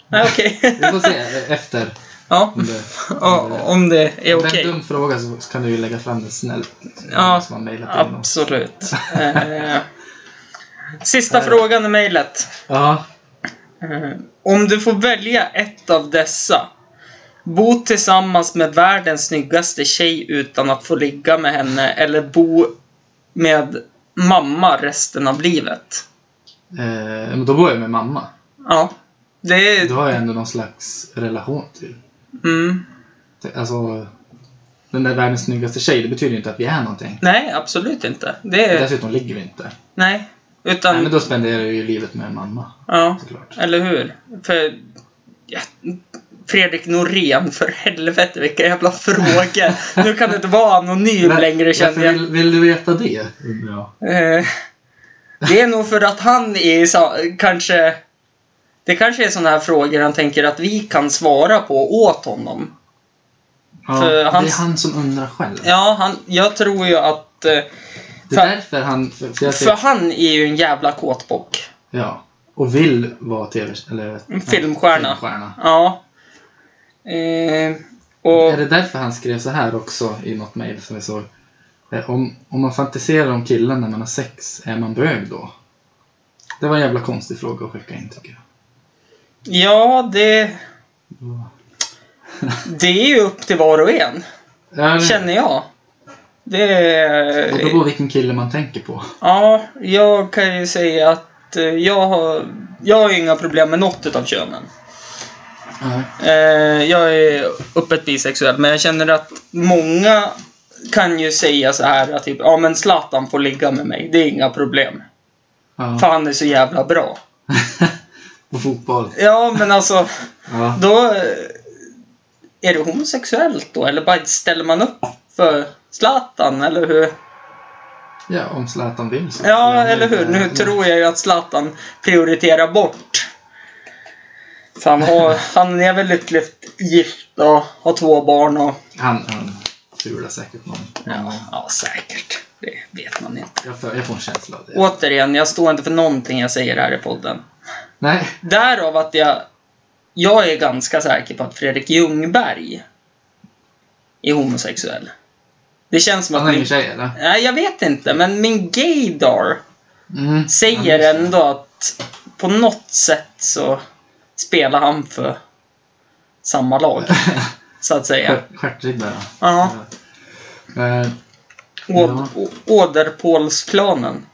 Speaker 5: Nej, okej. *laughs*
Speaker 6: Vi får se efter.
Speaker 5: ja.
Speaker 6: Om det,
Speaker 5: ja, om det är
Speaker 6: Om det är
Speaker 5: okej.
Speaker 6: en dum fråga så så kan du ju lägga fram det snällt. liksom,
Speaker 5: Ja,
Speaker 6: som man mejlat in och-
Speaker 5: Absolut. Eh, Sista frågan i mejlet.
Speaker 6: Ja.
Speaker 5: Eh, Om du får välja ett av dessa. Bo tillsammans med världens snyggaste tjej utan att få ligga med henne eller bo med mamma resten av livet.
Speaker 6: Eh, men då bor jag med mamma.
Speaker 5: Ja. Det
Speaker 6: Då
Speaker 5: är...
Speaker 6: har jag ändå någon slags relation till.
Speaker 5: Mm.
Speaker 6: till- Alltså, den där världens snyggaste tjej, det betyder ju inte att vi är någonting.
Speaker 5: Nej, absolut inte. Det är...
Speaker 6: Dessutom ligger vi inte.
Speaker 5: Nej.
Speaker 6: Nej,
Speaker 5: Utan...
Speaker 6: men då spenderar jag ju livet med mamma,
Speaker 5: Ja.
Speaker 6: såklart.
Speaker 5: Eller hur? För... Ja, Fredrik Norén, för helvete vilka jävla frågor! Nu kan du inte vara anonym
Speaker 6: Var-
Speaker 5: längre
Speaker 6: varför
Speaker 5: känner jag.
Speaker 6: Vill, vill du veta det? undrar jag.
Speaker 5: Eh, Det är nog för att han är sa- kanske... Det kanske är sådana här frågor han tänker att vi kan svara på åt honom.
Speaker 6: Ja,
Speaker 5: För
Speaker 6: Det
Speaker 5: hans-
Speaker 6: är han som undrar själv.
Speaker 5: Ja, han, jag tror ju att... eh,
Speaker 6: det är därför han... För, för jag
Speaker 5: För
Speaker 6: ser,
Speaker 5: han är ju en jävla kåtbock.
Speaker 6: ja. Och vill vara tv... Eller,
Speaker 5: En filmstjärna.
Speaker 6: filmstjärna.
Speaker 5: Ja. Eh, och...
Speaker 6: Är det därför han skrev så här också i något mejl som vi såg? Eh, Om, om man fantiserar om killen när man har sex, är man bög då? Det var en jävla konstig fråga att skicka in tycker jag.
Speaker 5: Ja, det... Det är ju upp till var och en,
Speaker 6: Ja,
Speaker 5: känner jag. Det
Speaker 6: och
Speaker 5: är...
Speaker 6: det beror på vilken kille man tänker på.
Speaker 5: Ja, jag kan ju säga att eh, jag har, jag har inga problem med något utav könen.
Speaker 6: Ja.
Speaker 5: Eh, Jag är öppet bisexuell, men jag känner att många kan ju säga så här att typ, ja men Zlatan får ligga med mig, det är inga problem. För
Speaker 6: Ja.
Speaker 5: han är så jävla bra.
Speaker 6: *laughs* på fotboll.
Speaker 5: Ja, men alltså,
Speaker 6: Ja.
Speaker 5: då... eh, Är det homosexuellt då, eller bara ställer man upp för Zlatan, eller hur?
Speaker 6: ja, om Zlatan vill så.
Speaker 5: Ja, eh, eller hur? Nu tror jag ju att Zlatan prioriterar bort. För han, *laughs* har, han är väl lyckligt gift och har två barn och...
Speaker 6: Han, han fular säkert någon.
Speaker 5: Ja, ja säkert. Det vet man inte.
Speaker 6: Jag, får, jag får en känsla av det.
Speaker 5: Återigen, jag står inte för någonting jag säger här i podden.
Speaker 6: Nej.
Speaker 5: Därav att jag... Jag är ganska säker på att Fredrik Ljungberg är homosexuell. Det känns som
Speaker 6: Han
Speaker 5: att...
Speaker 6: har ingen
Speaker 5: Min,
Speaker 6: tjej eller?
Speaker 5: nej, jag vet inte, men min gaydar
Speaker 6: Mm.
Speaker 5: säger ändå att på något sätt så spelar han för samma lag. Så att säga.
Speaker 6: Stjärt- Stjärtriddare.
Speaker 5: Ja.
Speaker 6: Eh,
Speaker 5: Åd- Å- Åderpålsklanen.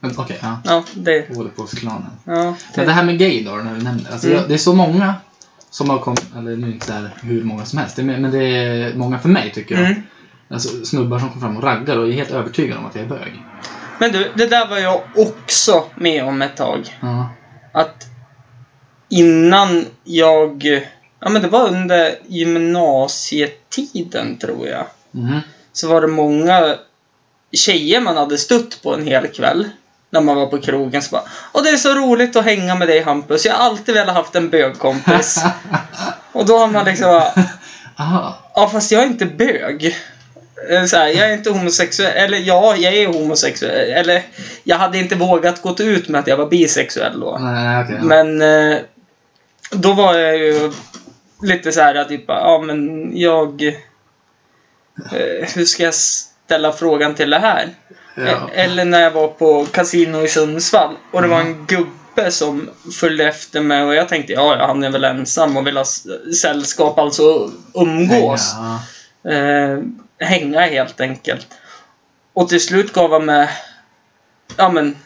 Speaker 6: Men Okej, ja.
Speaker 5: Ja, det...
Speaker 6: Olepolsklanen.
Speaker 5: Ja,
Speaker 6: Men det här med gay då, när du nämner. Alltså,
Speaker 5: Mm.
Speaker 6: jag- Det är så många som har kommit, eller nu är det inte så här hur många som helst, det är- men det är många för mig tycker jag.
Speaker 5: Mm.
Speaker 6: Alltså snubbar som kommer fram och raggar och är helt övertygade om att jag är bög.
Speaker 5: Men du, det där var jag också med om ett tag.
Speaker 6: Ja.
Speaker 5: Att innan jag... Ja, men det var under gymnasietiden, tror jag.
Speaker 6: Mhm.
Speaker 5: så var det många tjejer man hade stött på en hel kväll. När man var på krogen så bara Åh det är så roligt att hänga med dig Hampus, jag har alltid velat haft en bögkompis. och då har man liksom bara,
Speaker 6: Aha.
Speaker 5: Ja fast jag är inte bög. Eh, Så här, jag är inte homosexuell, eller ja, jag är homosexuell. Eller jag hade inte vågat gått ut med att jag var bisexuell då.
Speaker 6: Nej, okej. ja.
Speaker 5: Men eh, då var jag ju lite så här att typ, ja men jag... Eh, hur ska jag ställa frågan till det här?
Speaker 6: Ja.
Speaker 5: E- Eller när jag var på kasino i Sundsvall och det var
Speaker 6: Mm.
Speaker 5: en gubbe som följde efter mig och jag tänkte ja, ja, han är väl ensam och vill ha s- sällskap, alltså umgås.
Speaker 6: Ja.
Speaker 5: Eh, hänga helt enkelt. Och till slut gav han mig ja, men,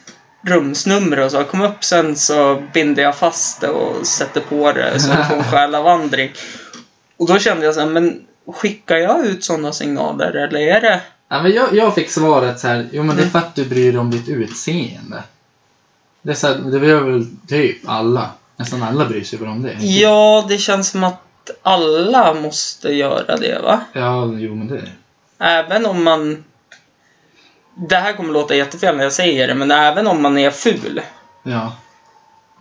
Speaker 5: rumsnummer och sa kom upp sen så binder jag fast det och sätter på det så du får en själavandring. Och då kände jag så här, men skickar jag ut sådana signaler eller är det...
Speaker 6: Ja, men jag, jag fick svaret så här, jo men det
Speaker 5: Mm.
Speaker 6: är för att du bryr dig om ditt utseende. Det, är så här, det gör väl typ alla. Nästan alla bryr sig väl om det.
Speaker 5: Ja, det känns som att alla måste göra det va?
Speaker 6: Ja, jo men det är det.
Speaker 5: Även om man... Det här kommer låta jättefel när jag säger det, men även om man är ful.
Speaker 6: Ja.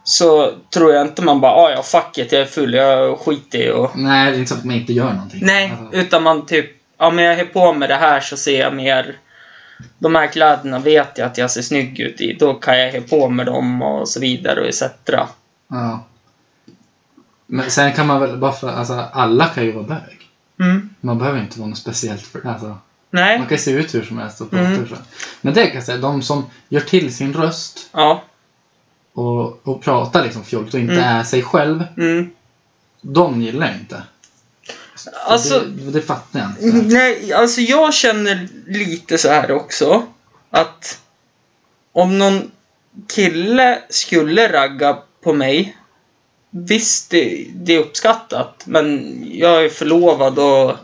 Speaker 5: så tror jag inte man bara ah, ja fuck it, jag är full, jag skiter i och...
Speaker 6: Nej, det är inte så att man inte gör någonting.
Speaker 5: Nej,
Speaker 6: Alltså,
Speaker 5: utan man typ, ja men jag är på med det här så ser jag mer... De här kläderna vet jag att jag ser snygg ut i, då kan jag ha på med dem och så vidare och etc.
Speaker 6: ja. Men sen kan man väl bara för, alltså alla kan ju vara bög.
Speaker 5: Mm.
Speaker 6: Man behöver inte vara något speciellt för alltså,
Speaker 5: Nej.
Speaker 6: Man kan se ut hur som helst och prata
Speaker 5: Mm.
Speaker 6: hur som helst. Men det kan jag säga, de som gör till sin röst
Speaker 5: Ja.
Speaker 6: och, och pratar liksom fjolligt och inte
Speaker 5: Mm.
Speaker 6: är sig själv.
Speaker 5: Mm.
Speaker 6: De gillar jag inte.
Speaker 5: Alltså-
Speaker 6: det, det fattar jag inte.
Speaker 5: Nej, alltså jag känner lite så här också. Att om någon kille skulle ragga på mig. Visst, det, det är uppskattat. Men jag är förlovad och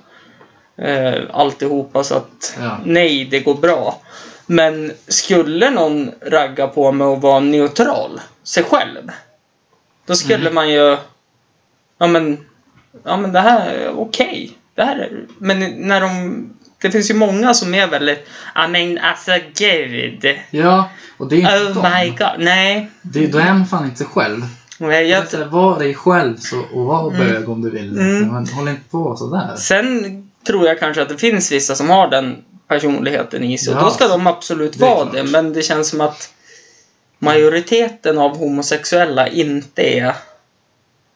Speaker 5: eh, alltihopa så att
Speaker 6: Ja.
Speaker 5: nej, det går bra. Men skulle någon ragga på mig och vara neutral, sig själv. Då skulle man ju... Ja men, ja men det här är okej. Det här är, men när de... Det finns ju många som är väldigt... Ja men alltså gud.
Speaker 6: Ja, och det är inte
Speaker 5: Oh my god. Nej.
Speaker 6: Det, då är man fan inte sig själv.
Speaker 5: Nej,
Speaker 6: Jag...
Speaker 5: Jag,
Speaker 6: Det är var dig själv så, och var bög om du vill.
Speaker 5: Mm.
Speaker 6: Men håll inte på sådär.
Speaker 5: sen tror jag kanske att det finns vissa som har den personligheten i sig. Och
Speaker 6: Ja,
Speaker 5: då ska de absolut
Speaker 6: det är
Speaker 5: vara
Speaker 6: klart.
Speaker 5: det. Men det känns som att majoriteten av homosexuella inte är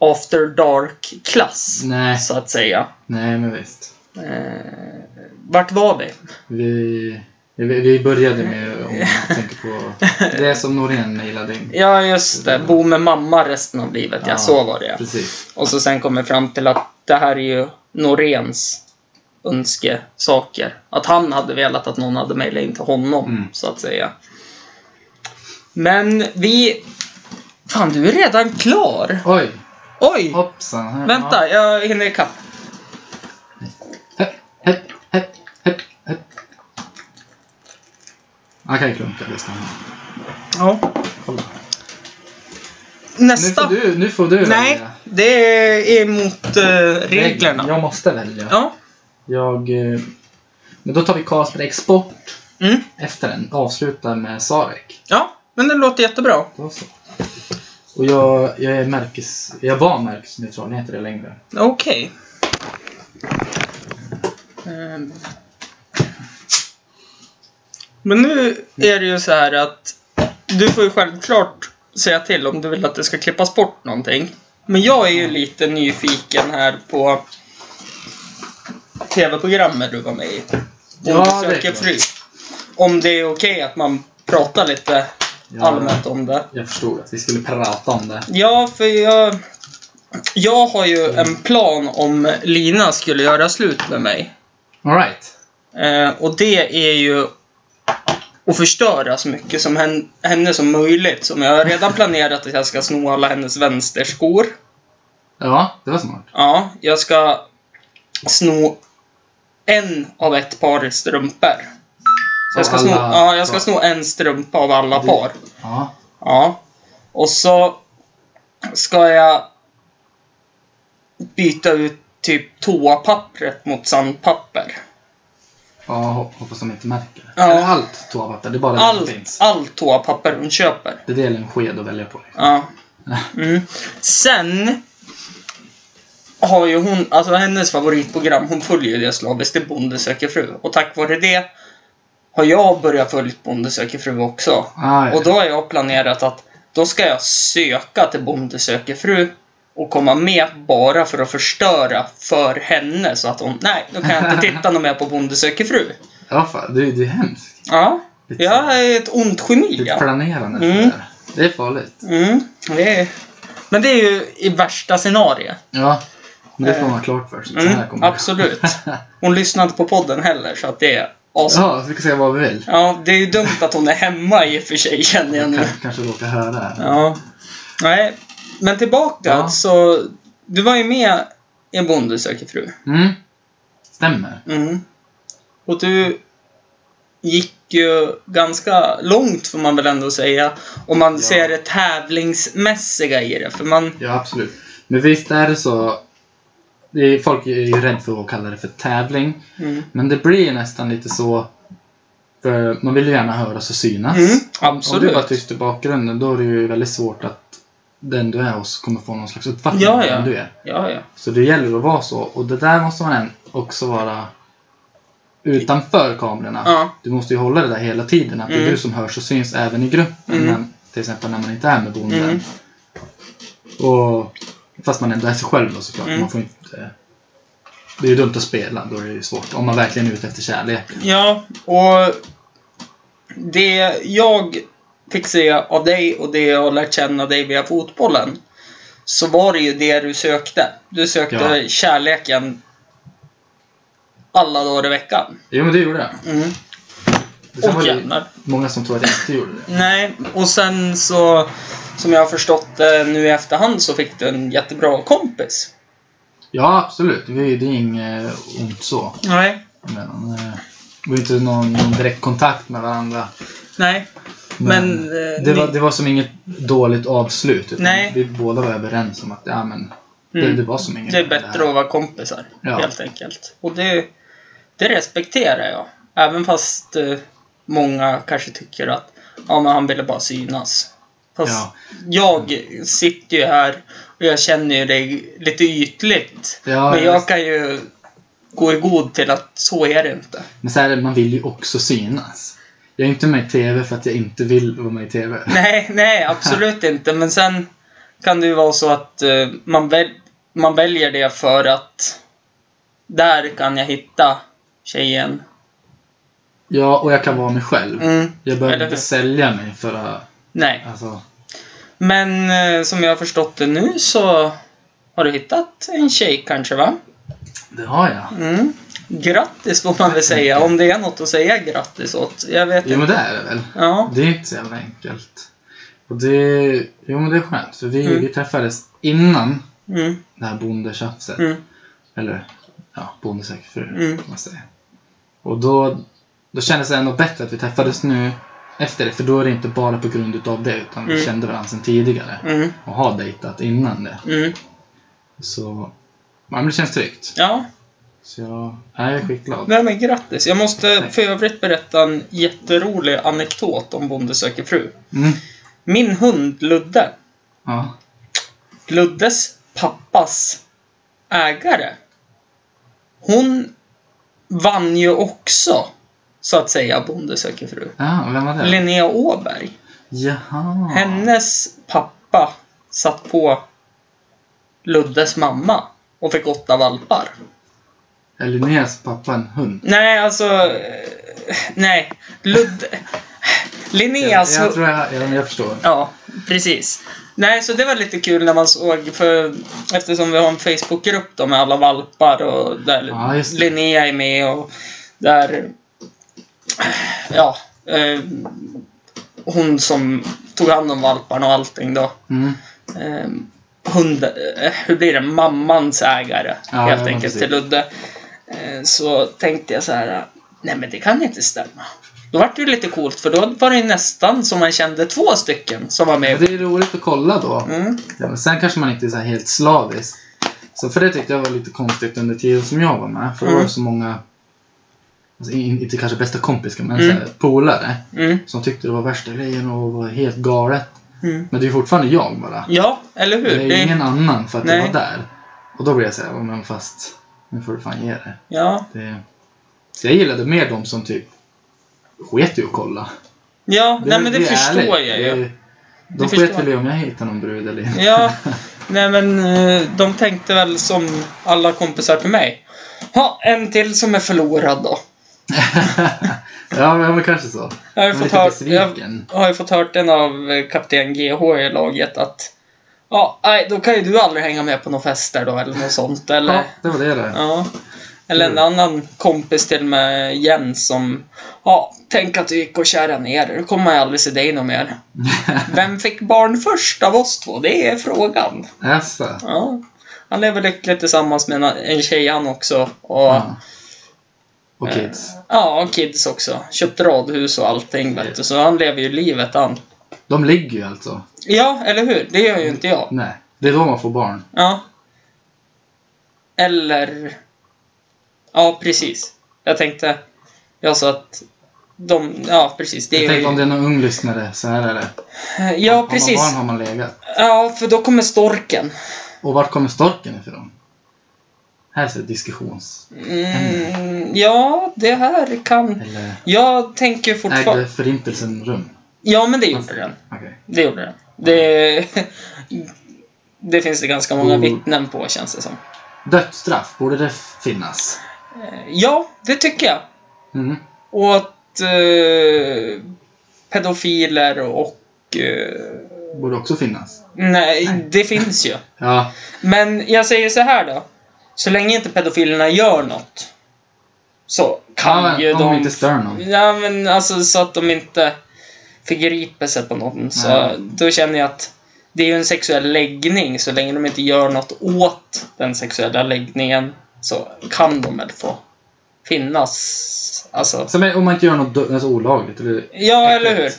Speaker 5: after dark-klass.
Speaker 6: Nej.
Speaker 5: Så att säga.
Speaker 6: Nej, men visst.
Speaker 5: Eh, vart var vi?
Speaker 6: Vi, vi, vi började
Speaker 5: *laughs*
Speaker 6: med, om jag tänker på, det som Norén mejlade in.
Speaker 5: Ja, just det. Bo med mamma resten av livet. Ja,
Speaker 6: Ja.
Speaker 5: så var det.
Speaker 6: Precis.
Speaker 5: Och så sen kommer fram till att det här är ju Noréns önskesaker. Att han hade velat att någon hade mejlat in till honom,
Speaker 6: Mm.
Speaker 5: så att säga. Men vi... Fan, du är redan klar!
Speaker 6: Oj,
Speaker 5: Oj!
Speaker 6: hoppsan. Här,
Speaker 5: Vänta, jag hinner ikapp.
Speaker 6: Hepp, hepp, hepp, hepp, hepp. Han kan ju klunka, det ska han.
Speaker 5: Ja.
Speaker 6: Kolla. Nu
Speaker 5: Nästa!
Speaker 6: får du, nu får du
Speaker 5: Nej,
Speaker 6: välja.
Speaker 5: det är emot eh, reglerna.
Speaker 6: Jag måste välja.
Speaker 5: Ja.
Speaker 6: Jag... eh, Men då tar vi Karlsberg Export
Speaker 5: Mm.
Speaker 6: efter den. Avslutar med Sarek.
Speaker 5: Ja, men det låter jättebra.
Speaker 6: Då så. Och jag, jag är märkes... Jag var märkesneutral, jag är inte det längre.
Speaker 5: Okej. Ehm. Men nu är det ju så här att du får ju självklart säga till om du vill att det ska klippas bort någonting. Men jag är ju lite nyfiken här på tv-programmet du var med i. Om
Speaker 6: Ja,
Speaker 5: du
Speaker 6: det är
Speaker 5: söker
Speaker 6: klart.
Speaker 5: fru. Om det är okej att man pratar lite
Speaker 6: Ja.
Speaker 5: allmänt om det.
Speaker 6: Jag förstod att vi skulle prata om det.
Speaker 5: Ja, för jag... Jag har ju en plan om Lina skulle göra slut med mig.
Speaker 6: Alright.
Speaker 5: Eh, och det är ju och förstöra så mycket som hen- henne som möjligt. Som jag har redan planerat att jag ska sno alla hennes vänsterskor.
Speaker 6: Ja, det var smart.
Speaker 5: Ja, jag ska sno en av ett par strumpor. Så jag ska,
Speaker 6: Av
Speaker 5: sno,
Speaker 6: alla
Speaker 5: ja, jag ska
Speaker 6: par.
Speaker 5: sno en strumpa av alla
Speaker 6: Det-
Speaker 5: par.
Speaker 6: Ja.
Speaker 5: Ja. Och så ska jag byta ut typ toapappret mot sandpapper.
Speaker 6: Ja, hop- hoppas de inte märker det.
Speaker 5: Ja.
Speaker 6: Eller allt toapapper, det är bara det som
Speaker 5: Allt,
Speaker 6: finns.
Speaker 5: allt toapapper hon köper.
Speaker 6: Det är det eller en sked att välja på. liksom.
Speaker 5: Ja. Mm. Sen har ju hon, alltså hennes favoritprogram, hon följer ju det slaviskt, det är Bonde söker fru. Och tack vare det har jag börjat följa Bonde söker fru också.
Speaker 6: Ah, ja.
Speaker 5: Och då har jag planerat att då ska jag söka till Bonde söker fru och komma med bara för att förstöra för henne så att hon, nej, nu kan jag
Speaker 6: *laughs*
Speaker 5: inte titta något mer på Bonde söker fru.
Speaker 6: ja, fan, du, du är hemsk.
Speaker 5: Ja,
Speaker 6: Lite-
Speaker 5: jag är ett ont geni.
Speaker 6: Ditt
Speaker 5: ja.
Speaker 6: planerande
Speaker 5: Mm.
Speaker 6: sådär. Det är farligt.
Speaker 5: Mm, det är... Men det är ju i värsta scenario.
Speaker 6: Ja. Men det får
Speaker 5: Eh.
Speaker 6: man ha klart för sig. Så här
Speaker 5: Mm,
Speaker 6: kommer det.
Speaker 5: absolut. Hon lyssnar inte på podden heller, så att det är as...
Speaker 6: *laughs* Ja, så vi kan säga vad vi vill.
Speaker 5: Ja, det är ju dumt att hon är hemma i och för sig, känner jag nu.
Speaker 6: Kan, kanske råkar höra det här.
Speaker 5: Ja. Nej, men tillbaka
Speaker 6: Ja.
Speaker 5: så... Du var ju med i En bonde söker fru.
Speaker 6: Mm. Stämmer.
Speaker 5: Mm. Och du gick ju ganska långt, får man väl ändå säga. Om man ser det tävlingsmässiga i det, för man...
Speaker 6: Ja, absolut. Men visst är det så. Det är, folk är ju rädda för att kalla det för tävling.
Speaker 5: Mm.
Speaker 6: Men det blir ju nästan lite så. För man vill ju gärna höras och synas.
Speaker 5: Mm,
Speaker 6: Om du
Speaker 5: absolut.
Speaker 6: bara tyst i bakgrunden då är det ju väldigt svårt att den du är hos kommer få någon slags uppfattning
Speaker 5: Ja,
Speaker 6: om
Speaker 5: ja.
Speaker 6: vem du är.
Speaker 5: Ja, ja.
Speaker 6: Så det gäller att vara så. Och det där måste man än- också vara utanför kamerorna.
Speaker 5: Ja.
Speaker 6: Du måste ju hålla det där hela tiden. Att det
Speaker 5: Mm.
Speaker 6: är du som hörs och syns även i gruppen.
Speaker 5: Mm.
Speaker 6: När, till exempel när man inte är med bonden.
Speaker 5: Mm.
Speaker 6: Och, fast man ändå är sig själv då såklart.
Speaker 5: Mm.
Speaker 6: Man får inte, eh, det är ju dumt att spela. Då är det ju svårt. Om man verkligen är ute efter kärlek.
Speaker 5: Ja, och det jag fick se av dig och det jag har lärt känna dig via fotbollen så var det ju det du sökte. Du sökte
Speaker 6: Ja.
Speaker 5: kärleken alla dagar i veckan.
Speaker 6: Jo men det gjorde jag.
Speaker 5: Mm.
Speaker 6: Sen
Speaker 5: Och
Speaker 6: var det ju
Speaker 5: jävlar.
Speaker 6: många som tror att jag inte gjorde det.
Speaker 5: Nej, och sen så som jag har förstått det nu i efterhand så fick du en jättebra kompis.
Speaker 6: Ja absolut. Det är det är inget eh, ont så.
Speaker 5: Nej.
Speaker 6: Men, eh, det var inte någon direkt kontakt med varandra.
Speaker 5: Nej.
Speaker 6: Men,
Speaker 5: Men, eh,
Speaker 6: det, var,
Speaker 5: ni-
Speaker 6: det var som inget dåligt avslut. utan
Speaker 5: Nej.
Speaker 6: Vi båda var överens om att ja, men, det,
Speaker 5: Mm.
Speaker 6: det var som inget.
Speaker 5: Det är bättre att vara kompisar,
Speaker 6: Ja.
Speaker 5: helt enkelt. Och det, det respekterar jag. Även fast eh, många kanske tycker att ja, men han ville bara synas. Fast jag sitter ju här och jag känner ju dig lite ytligt.
Speaker 6: Ja,
Speaker 5: men
Speaker 6: visst.
Speaker 5: jag kan ju gå i god till att så är det inte.
Speaker 6: Men så här, är det, man vill ju också synas. Jag är inte med i TV för att jag inte vill vara med i TV.
Speaker 5: Nej, nej, absolut inte. Men sen kan det ju vara så att eh, man, väl, man väljer det för att där kan jag hitta tjejen.
Speaker 6: Ja, och jag kan vara mig själv.
Speaker 5: Mm.
Speaker 6: Jag behöver
Speaker 5: Eller
Speaker 6: inte
Speaker 5: hur?
Speaker 6: sälja mig för att...
Speaker 5: Nej,
Speaker 6: Alltså,
Speaker 5: men eh, som jag har förstått det nu så har du hittat en tjej kanske va?
Speaker 6: det har jag.
Speaker 5: Mm. Grattis får man väl säga, om det är något att säga grattis åt. Jag vet
Speaker 6: Jo, men
Speaker 5: inte.
Speaker 6: det är det väl.
Speaker 5: Ja.
Speaker 6: Det är inte så jävla enkelt. Och det... Jo, men det är skönt. För vi,
Speaker 5: Mm.
Speaker 6: vi träffades innan
Speaker 5: Mm.
Speaker 6: det här bondetjafset.
Speaker 5: Mm.
Speaker 6: Eller ja, bondesök fru
Speaker 5: Mm.
Speaker 6: kan man säga. Och då, då kändes det ändå bättre att vi träffades nu efter det. För då är det inte bara på grund utav det utan vi
Speaker 5: Mm.
Speaker 6: kände varandra sedan tidigare.
Speaker 5: Mm.
Speaker 6: Och har dejtat innan det.
Speaker 5: Mm.
Speaker 6: Så ja, men det känns tryggt.
Speaker 5: Ja,
Speaker 6: Så jag, ja, jag är skitglad.
Speaker 5: nej men grattis. Jag måste för övrigt berätta en jätterolig anekdot om Bonde söker fru.
Speaker 6: Mm.
Speaker 5: Min hund Ludde,
Speaker 6: Ja.
Speaker 5: Luddes pappas ägare, hon vann ju också, så att säga, Bonde söker fru.
Speaker 6: ja, vem var det?
Speaker 5: Linnea Åberg.
Speaker 6: Jaha.
Speaker 5: Hennes pappa satt på Luddes mamma och fick åtta valpar.
Speaker 6: Är Linneas pappa en hund?
Speaker 5: Nej, alltså... eh, Nej. Ludde... Linneas...
Speaker 6: jag, jag tror jag, jag, jag förstår.
Speaker 5: Ja, precis. Nej, så det var lite kul när man såg, för eftersom vi har en Facebookgrupp då med alla valpar och där
Speaker 6: Ja, just det.
Speaker 5: Linnea är med och där, ja, eh, hon som tog hand om valparna och allting då.
Speaker 6: Mm.
Speaker 5: Eh, hund, eh, hur blir det? Mammans ägare
Speaker 6: Ja, ja,
Speaker 5: helt
Speaker 6: men
Speaker 5: enkelt
Speaker 6: precis.
Speaker 5: till Ludde. Eh, så tänkte jag så här. Nej men det kan inte stämma. Då var det ju lite coolt för då var det ju nästan som man kände två stycken som var
Speaker 6: Men
Speaker 5: med.
Speaker 6: det är roligt att kolla då.
Speaker 5: Mm.
Speaker 6: Ja, men sen kanske man inte är så här helt slavisk. Så för det tyckte jag var lite konstigt under tiden som jag var med. För det var
Speaker 5: Mm.
Speaker 6: så många, alltså, in- inte kanske bästa kompisar, men
Speaker 5: Mm.
Speaker 6: så här, polare.
Speaker 5: Mm.
Speaker 6: Som tyckte det var värsta grejen och var helt galet.
Speaker 5: Mm.
Speaker 6: Men det är ju fortfarande jag bara.
Speaker 5: Ja, eller hur?
Speaker 6: Det är ju ingen annan för att jag
Speaker 5: Mm. Nej.
Speaker 6: var där. Och då blev jag såhär, men fast nu får du fan ge det.
Speaker 5: Ja,
Speaker 6: det. Så jag gillade mer de som typ sket i att kolla.
Speaker 5: ja nej men det,
Speaker 6: är
Speaker 5: förstår
Speaker 6: ärligt.
Speaker 5: jag ju.
Speaker 6: Det- De
Speaker 5: Det
Speaker 6: sket
Speaker 5: förstår
Speaker 6: väl i om jag hittade någon brud eller inte.
Speaker 5: Ja, nej men eh, de tänkte väl som alla kompisar till mig. Ha, en till som är förlorad då.
Speaker 6: *laughs* ja, men- men kanske så.
Speaker 5: Jag har ju
Speaker 6: Man är
Speaker 5: fått,
Speaker 6: lite
Speaker 5: hört, jag
Speaker 6: besviken.
Speaker 5: har ju fått hört en av eh, kapten GH i laget att Ja, nej, då kan ju du aldrig hänga med på några fester då eller något sånt eller?
Speaker 6: Ja, det var det det.
Speaker 5: Ja. Eller en
Speaker 6: Mm.
Speaker 5: annan kompis till med Jens som Ja, tänk att du gick och kära ner dig. Då kommer man ju aldrig se dig något
Speaker 6: *laughs*
Speaker 5: mer. Vem fick barn först av oss två? Det är frågan.
Speaker 6: Jaså?
Speaker 5: Ja. Han lever lyckligt tillsammans med en- en tjej han också. Och,
Speaker 6: Ja. Och
Speaker 5: Eh.
Speaker 6: kids.
Speaker 5: Ja, kids också. Köpt radhus och allting vet du. Så han lever ju livet han.
Speaker 6: De ligger ju alltså.
Speaker 5: Ja, eller hur? Det gör ju inte jag.
Speaker 6: Nej. Det är då man får barn.
Speaker 5: Ja. Eller... Ja, precis. Jag tänkte... Jag sa att de... Ja, precis. Det
Speaker 6: Jag
Speaker 5: är
Speaker 6: tänkte om
Speaker 5: ju...
Speaker 6: det är någon ung lyssnare, så här är det.
Speaker 5: Ja, precis.
Speaker 6: Har man barn har man legat.
Speaker 5: Ja, för då kommer storken.
Speaker 6: Och vart kommer storken ifrån? Här ser diskussions...
Speaker 5: Mm, ja, det här kan...
Speaker 6: Eller
Speaker 5: Jag tänker
Speaker 6: ägde
Speaker 5: fortfarande...
Speaker 6: förintelsen rum?
Speaker 5: Ja, men det gjorde den.
Speaker 6: Okej.
Speaker 5: Det gjorde den. Det, *laughs* det finns det ganska många
Speaker 6: Mm.
Speaker 5: vittnen på känns det som.
Speaker 6: Dödsstraff, borde det finnas?
Speaker 5: Eh, Ja, det tycker jag.
Speaker 6: Mm.
Speaker 5: Åt eh, pedofiler och... Eh,
Speaker 6: Borde också finnas.
Speaker 5: nej, det finns ju.
Speaker 6: Ja.
Speaker 5: Men jag säger så här då. Så länge inte pedofilerna gör något. Så kan
Speaker 6: ja
Speaker 5: ju
Speaker 6: om
Speaker 5: de...
Speaker 6: inte stör någon.
Speaker 5: Ja, men alltså så att de inte förgriper sig på någon. Så
Speaker 6: Nej.
Speaker 5: då känner jag att det är ju en sexuell läggning. Så länge de inte gör något åt den sexuella läggningen så kan de väl få finnas. Alltså,
Speaker 6: Så, men, om man inte gör något dö- alltså, olagligt. Eller...
Speaker 5: ja eller hur?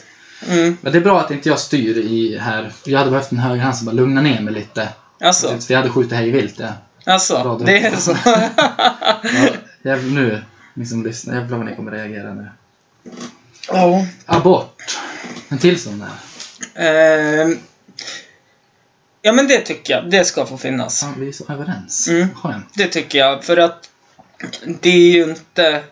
Speaker 5: Mm,
Speaker 6: Men det är bra att inte jag styr i här. Jag hade behövt en höger hand som bara lugnar ner mig lite.
Speaker 5: alltså,
Speaker 6: För jag hade skjutit hej vilt. Ja. Bra,
Speaker 5: alltså,
Speaker 6: du.
Speaker 5: det är så.
Speaker 6: *laughs* Ja, jävlar, nu, ni som lyssnar, jävlar vad ni kommer reagera nu.
Speaker 5: Ja.
Speaker 6: Abort. En till sån där.
Speaker 5: Ehm, ja men det tycker jag, det ska få finnas.
Speaker 6: Fan, vi är så överens.
Speaker 5: Mm.
Speaker 6: Skönt.
Speaker 5: Det tycker jag, för att det är ju inte...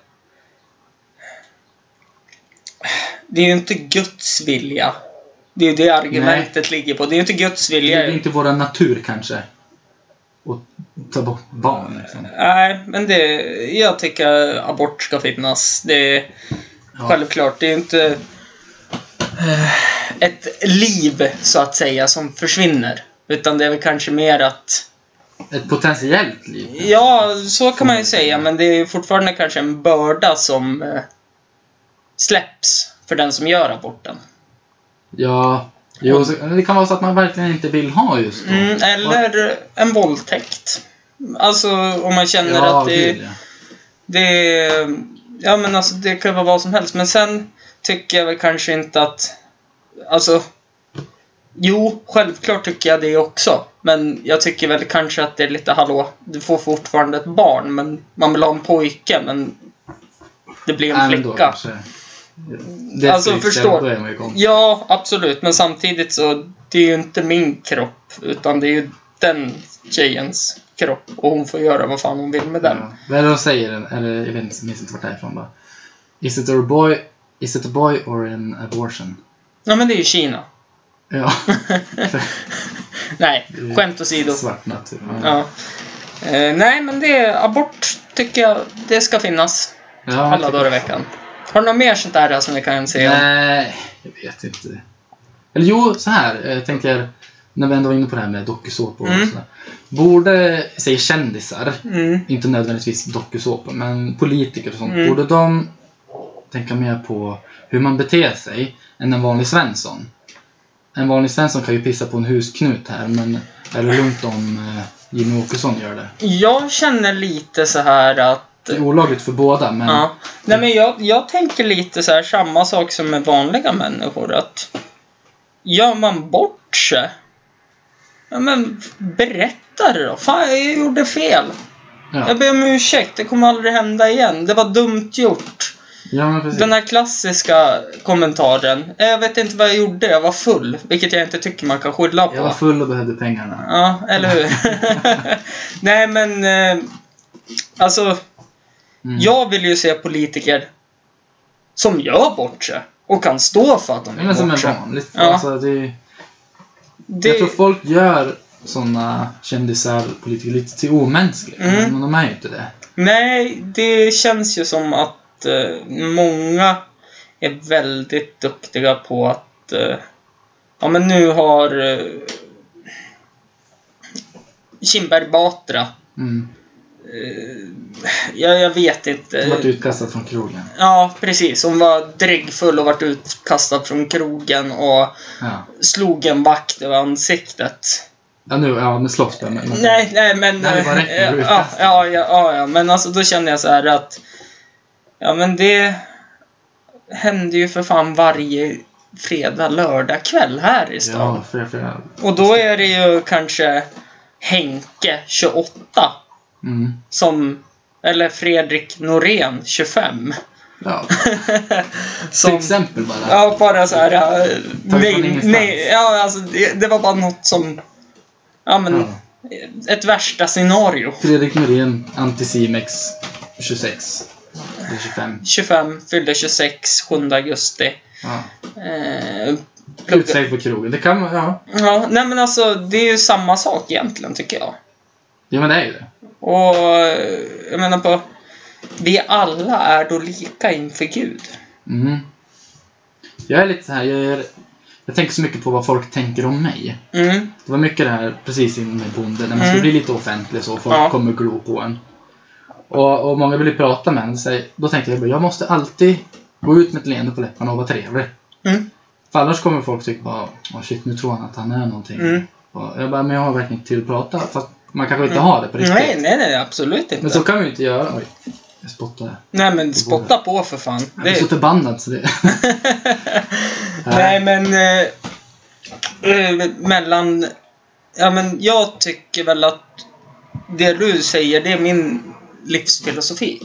Speaker 5: Det är ju inte Guds vilja. Det är ju det argumentet ligger på. Det är ju inte Guds
Speaker 6: Det
Speaker 5: vilja.
Speaker 6: är inte våra natur kanske. Att ta bort barn liksom.
Speaker 5: Nej, men det... Jag tycker abort ska finnas. Det är
Speaker 6: Ja.
Speaker 5: självklart. Det är ju inte eh, ett liv, så att säga, som försvinner. Utan det är väl kanske mer att...
Speaker 6: Ett potentiellt liv.
Speaker 5: Ja, så kan man ju säga, men det är ju fortfarande kanske en börda som eh, släpps för den som gör aborten.
Speaker 6: Ja. Jo, så, det kan vara så att man verkligen inte vill ha just då.
Speaker 5: Mm, eller en våldtäkt. Alltså om man känner
Speaker 6: ja,
Speaker 5: att det,
Speaker 6: gud, ja.
Speaker 5: det är- Ja men alltså det kan vara vad som helst, men sen tycker jag väl kanske inte att... Alltså... Jo, självklart tycker jag det också. Men jag tycker väl kanske att det är lite, hallå, du får fortfarande ett barn, men man vill ha en pojke, men det blir en
Speaker 6: Nej, men
Speaker 5: flicka.
Speaker 6: då kanske. Det
Speaker 5: Alltså,
Speaker 6: stryks,
Speaker 5: förstår.
Speaker 6: Då är man ju igång.
Speaker 5: Ja, absolut. Men samtidigt så, det är ju inte min kropp. Utan det är ju den tjejens kropp. Och hon får göra vad fan hon vill med den.
Speaker 6: Ja. Vad är det de säger? Eller jag vet inte, minns inte vart det är ifrån bara. Is it, a boy, is it a boy or an abortion?
Speaker 5: Ja, men det är ju Kina. *laughs*
Speaker 6: Ja,
Speaker 5: Nej,
Speaker 6: Mm.
Speaker 5: skämt åsido.
Speaker 6: svart natur.
Speaker 5: Ja. Eh, nej, men det är abort tycker jag. Det ska finnas.
Speaker 6: Ja, jag
Speaker 5: Alla
Speaker 6: tycker-
Speaker 5: dagar i veckan. Har du något mer sånt där som vi kan säga?
Speaker 6: Nej, jag vet inte. Eller jo, så här eh, tänkte jag. När vi ändå var inne på det här med dokusåpor och
Speaker 5: Mm.
Speaker 6: sådär. Borde, säg kändisar,
Speaker 5: Mm.
Speaker 6: inte nödvändigtvis dokusåpor, men politiker och sånt.
Speaker 5: Mm.
Speaker 6: Borde de tänka mer på hur man beter sig än en vanlig Svensson. En vanlig Svensson kan ju pissa på en husknut här, men är det lugnt om eh, Jimmy Åkesson gör det?
Speaker 5: Jag känner lite så här att...
Speaker 6: Det är olagligt för båda, men
Speaker 5: Ja. Nej men jag, jag tänker lite så här samma sak som med vanliga människor att gör man bort sig? Ja men berätta det då. Fan jag gjorde fel.
Speaker 6: ja.
Speaker 5: Jag ber om ursäkt, det kommer aldrig hända igen. Det var dumt gjort.
Speaker 6: ja men precis.
Speaker 5: Den här klassiska kommentaren. "Eh, Jag vet inte vad jag gjorde, jag var full. Vilket jag inte tycker man kan skylla på.
Speaker 6: Jag var full och behövde pengarna.
Speaker 5: Ja, eller hur? *laughs* Nej men, eh, alltså.
Speaker 6: Mm.
Speaker 5: Jag vill ju se politiker som gör bort sig och kan stå för att de
Speaker 6: Ja, men
Speaker 5: gör
Speaker 6: som
Speaker 5: bort sig.
Speaker 6: är vanligt.
Speaker 5: Ja.
Speaker 6: Alltså, det är, Jag tror
Speaker 5: Det,
Speaker 6: folk gör såna kändisar, politiker, lite till omänskliga.
Speaker 5: Mm.
Speaker 6: Men de är ju inte det.
Speaker 5: nej, det känns ju som att eh, många är väldigt duktiga på att eh, ja men nu har eh, Kinberg Batra eh,
Speaker 6: Mm.
Speaker 5: jag, jag vet inte.
Speaker 6: De vart utkastade från krogen.
Speaker 5: Ja, precis. Hon var dräggfull och vart utkastad från krogen och
Speaker 6: Ja.
Speaker 5: slog en vakt över ansiktet.
Speaker 6: Ja, nu, ja, men slåss det. Men, men-
Speaker 5: Nej, nej men...
Speaker 6: Nej, det bara räcker,
Speaker 5: eh,
Speaker 6: du är
Speaker 5: ja,
Speaker 6: utkastad.
Speaker 5: ja, ja, ja, ja, men alltså då kände jag så här att... Ja, men det hände ju för fan varje fredag, lördag kväll här i stan.
Speaker 6: Ja, för, för,
Speaker 5: Och då är det ju kanske Henke, 28,
Speaker 6: mm.
Speaker 5: som... Eller Fredrik Norén, 25. *laughs*
Speaker 6: ja. Till
Speaker 5: Som,
Speaker 6: exempel bara.
Speaker 5: Ja, bara så här... äh,
Speaker 6: från
Speaker 5: Nej,
Speaker 6: ingenstans.
Speaker 5: nej, ja, alltså, det, det var bara något som... Ja, men...
Speaker 6: Ja.
Speaker 5: Ett värsta scenario.
Speaker 6: Fredrik Norén, Anticimex 26. Eller 25.
Speaker 5: 25, fyllde 26, 7 augusti.
Speaker 6: Ja.
Speaker 5: Eh,
Speaker 6: Ut sig på krogen. Det kan man, ja.
Speaker 5: ja, nej men alltså, det är ju samma sak egentligen, tycker jag.
Speaker 6: Ja, men det är ju det.
Speaker 5: Och eh, jag menar på... Vi alla är då lika inför Gud.
Speaker 6: Mm. Jag är lite så här, jag, är, jag tänker så mycket på vad folk tänker om mig.
Speaker 5: Mm,
Speaker 6: Det var mycket det här precis innan med bonde, när man
Speaker 5: Mm.
Speaker 6: ska bli lite offentlig så, folk
Speaker 5: Ja.
Speaker 6: kommer glo på en. Och, och många ville prata med en, så här, då tänkte jag bara, jag måste alltid gå ut med ett leende på läpparna och vara trevlig.
Speaker 5: Mm.
Speaker 6: För annars kommer folk tycka bara, åh shit nu tror han att han är någonting.
Speaker 5: mm.
Speaker 6: Och jag bara, men jag har verkligen inte tid att prata, fast man kanske inte
Speaker 5: Mm.
Speaker 6: har det på riktigt.
Speaker 5: Nej, nej, nej, absolut inte.
Speaker 6: Men så kan vi ju inte göra. Oj, jag spottade.
Speaker 5: nej, men spotta på för fan.
Speaker 6: Jag
Speaker 5: Det-
Speaker 6: blir så förbannad så det...
Speaker 5: *laughs* Nej men eh, eh, mellan... Ja men jag tycker väl att det du säger det är min livsfilosofi.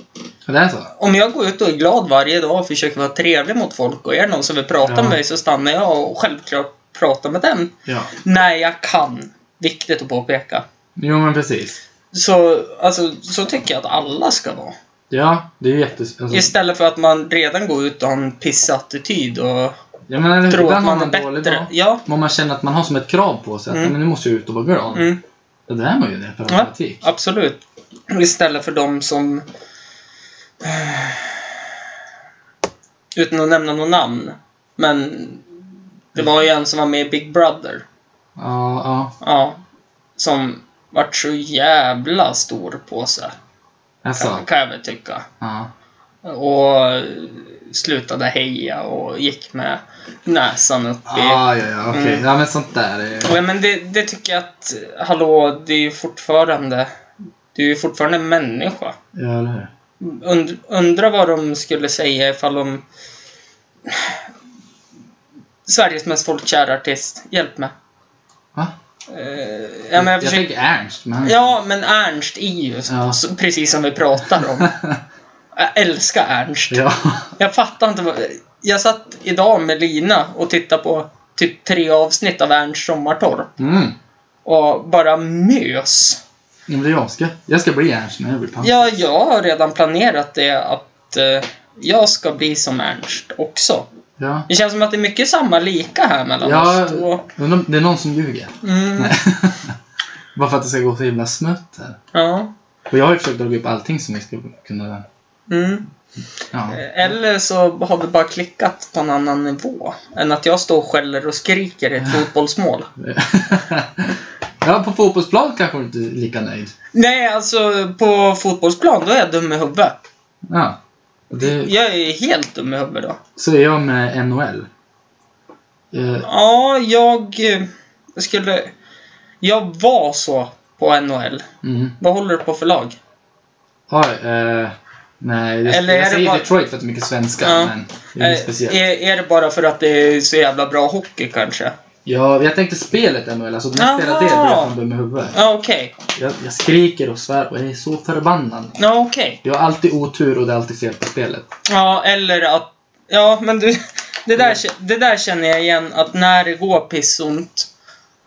Speaker 6: Det är så?
Speaker 5: Om jag går ut och är glad varje dag och försöker vara trevlig mot folk och är det någon som vill prata
Speaker 6: Ja.
Speaker 5: med mig så stannar jag och självklart pratar med den.
Speaker 6: Ja.
Speaker 5: När jag kan. Viktigt att påpeka.
Speaker 6: Jo men precis.
Speaker 5: Så, alltså, så tycker jag att alla ska vara.
Speaker 6: Alltså- Ja, det är ju jättes... Alltså,
Speaker 5: Istället för att man redan går ut och har en pissattityd och
Speaker 6: jag menar,
Speaker 5: tror att
Speaker 6: ibland har
Speaker 5: man
Speaker 6: man
Speaker 5: är
Speaker 6: dålig
Speaker 5: bättre.
Speaker 6: dag.
Speaker 5: Ja.
Speaker 6: Men man känner att man har som ett krav på sig att
Speaker 5: Mm.
Speaker 6: "Nej, men nu måste jag ut och vara glad.
Speaker 5: Mm.
Speaker 6: Ja, Det är man ju det per
Speaker 5: Ja,
Speaker 6: automatik.
Speaker 5: absolut. Istället för de som... eh, Utan att nämna något namn. Men det var ju en som var med i Big Brother.
Speaker 6: Ja, ja.
Speaker 5: Ja. Som vart så jävla stor på sig.
Speaker 6: Alltså,
Speaker 5: Kan, kan jag väl tycka.
Speaker 6: ja.
Speaker 5: Och eh, slutade heja och gick med näsan upp i...
Speaker 6: Ah, Ja, ja, ja, okej.
Speaker 5: Mm.
Speaker 6: Ja, men sånt där är...
Speaker 5: Ja, men det, det tycker jag att... Hallå, det är ju fortfarande... Du är ju fortfarande en människa.
Speaker 6: Ja, eller hur?
Speaker 5: Und, undra vad de skulle säga ifall de... Sveriges mest folkkära artist. Hjälp mig.
Speaker 6: Va?
Speaker 5: Eh, ja, men jag
Speaker 6: jag
Speaker 5: försöker...
Speaker 6: tänker Ernst, men...
Speaker 5: Ja, men Ernst är ju s-
Speaker 6: Ja.
Speaker 5: s- precis som vi pratar
Speaker 6: *laughs*
Speaker 5: om. Jag älskar Ernst.
Speaker 6: ja. *laughs*
Speaker 5: Jag fattar inte vad... Jag satt idag med Lina och tittade på typ tre avsnitt av Ernst Sommartorp
Speaker 6: Mm.
Speaker 5: och bara mös.
Speaker 6: Ja, men det är jag ska. Jag ska bli Ernst när jag blir pappa.
Speaker 5: Ja, jag har redan planerat det att eh, jag ska bli som Ernst också.
Speaker 6: Ja.
Speaker 5: Det känns som att det är mycket samma lika här mellan
Speaker 6: Ja,
Speaker 5: oss två.
Speaker 6: undrar om- det är någon som ljuger.
Speaker 5: Mm,
Speaker 6: Bara för att det ska gå så himla smått här.
Speaker 5: ja.
Speaker 6: Och jag har ju försökt dra upp allting som jag skulle kunna...
Speaker 5: Mm.
Speaker 6: Ja.
Speaker 5: Eller så har vi bara klickat på en annan nivå än att jag står och skäller och skriker i ett fotbollsmål.
Speaker 6: *laughs* ja, på fotbollsplan kanske du inte är lika nöjd.
Speaker 5: Nej, alltså på fotbollsplan då är jag dum i huvudet.
Speaker 6: Ja. Det,
Speaker 5: Jag är helt dum i huvudet då.
Speaker 6: så är jag med NHL. Eh,
Speaker 5: Ja, jag eh, skulle... Jag var så på NHL.
Speaker 6: mm.
Speaker 5: Vad håller du på för lag?
Speaker 6: Har, eh, nej, jag,
Speaker 5: Eller är
Speaker 6: jag
Speaker 5: det
Speaker 6: säger
Speaker 5: bara-
Speaker 6: Detroit för att det är mycket svenska,
Speaker 5: Ja.
Speaker 6: men det är inget
Speaker 5: Eh,
Speaker 6: speciellt.
Speaker 5: är, är det bara för att det är så jävla bra hockey kanske?
Speaker 6: Ja, jag tänkte spelet NHL, alltså när jag spelar det blir
Speaker 5: Jaha.
Speaker 6: jag fan dum i huvudet.
Speaker 5: Ja, okej.
Speaker 6: Jag, jag skriker och svär och jag är så förbannad.
Speaker 5: Ja, okej.
Speaker 6: Jag har alltid otur och det är alltid fel på spelet.
Speaker 5: Ja, eller att... Ja, men du... *laughs* Det där, kä- det där känner jag igen, att när det går pissont.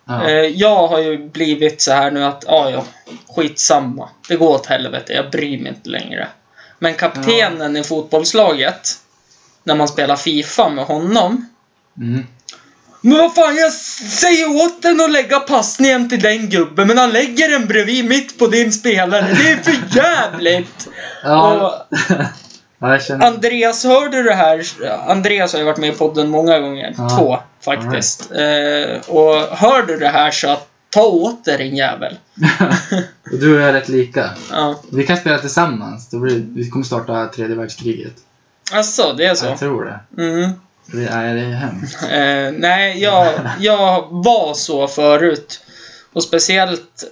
Speaker 6: Ja.
Speaker 5: Eh, jag har ju blivit så här nu att, ja, ja, skitsamma. Det går åt helvete, jag bryr mig inte längre. Men kaptenen i fotbollslaget, när man spelar Fifa med honom.
Speaker 6: Mm.
Speaker 5: Men vad fan, jag säger åt den att lägga passningen till den gubben, men han lägger den bredvid mitt på din spelare. Det är för jävligt!
Speaker 6: Ja. ja, jag känner...
Speaker 5: Andreas, hörde du det här? Andreas har ju varit med i podden många gånger.
Speaker 6: Ja.
Speaker 5: Två, faktiskt. Eh, och hör du det här så att, ta åt dig din jävel.
Speaker 6: Och du och jag är rätt lika.
Speaker 5: Ja.
Speaker 6: Vi kan spela tillsammans. Då blir, vi kommer starta tredje världskriget.
Speaker 5: Alltså, det är så?
Speaker 6: Jag tror det.
Speaker 5: Mm.
Speaker 6: Vi, nej, det är hemskt.
Speaker 5: Eh, nej, jag, jag var så förut. Och speciellt,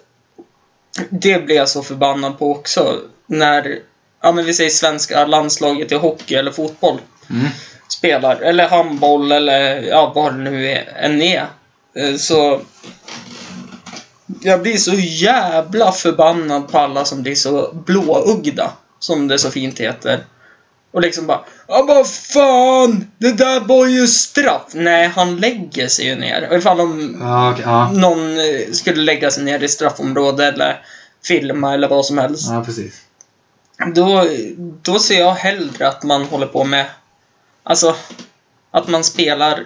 Speaker 5: det blev jag så förbannad på också. När, ja men vi säger svenska landslaget i hockey eller fotboll
Speaker 6: Mm.
Speaker 5: spelar, eller handboll eller ja, vad det nu är, än är. Eh, Så jag blir så jävla förbannad på alla som blir så blåögda, som det så fint heter. Och liksom bara Ja vad fan! Det där var ju straff! Nej, han lägger sig ju ner. Och ifall de
Speaker 6: Ja, okej, ja.
Speaker 5: någon eh, skulle lägga sig ner i straffområde eller filma eller vad som helst.
Speaker 6: ja, precis.
Speaker 5: Då, då ser jag hellre att man håller på med... Alltså, att man spelar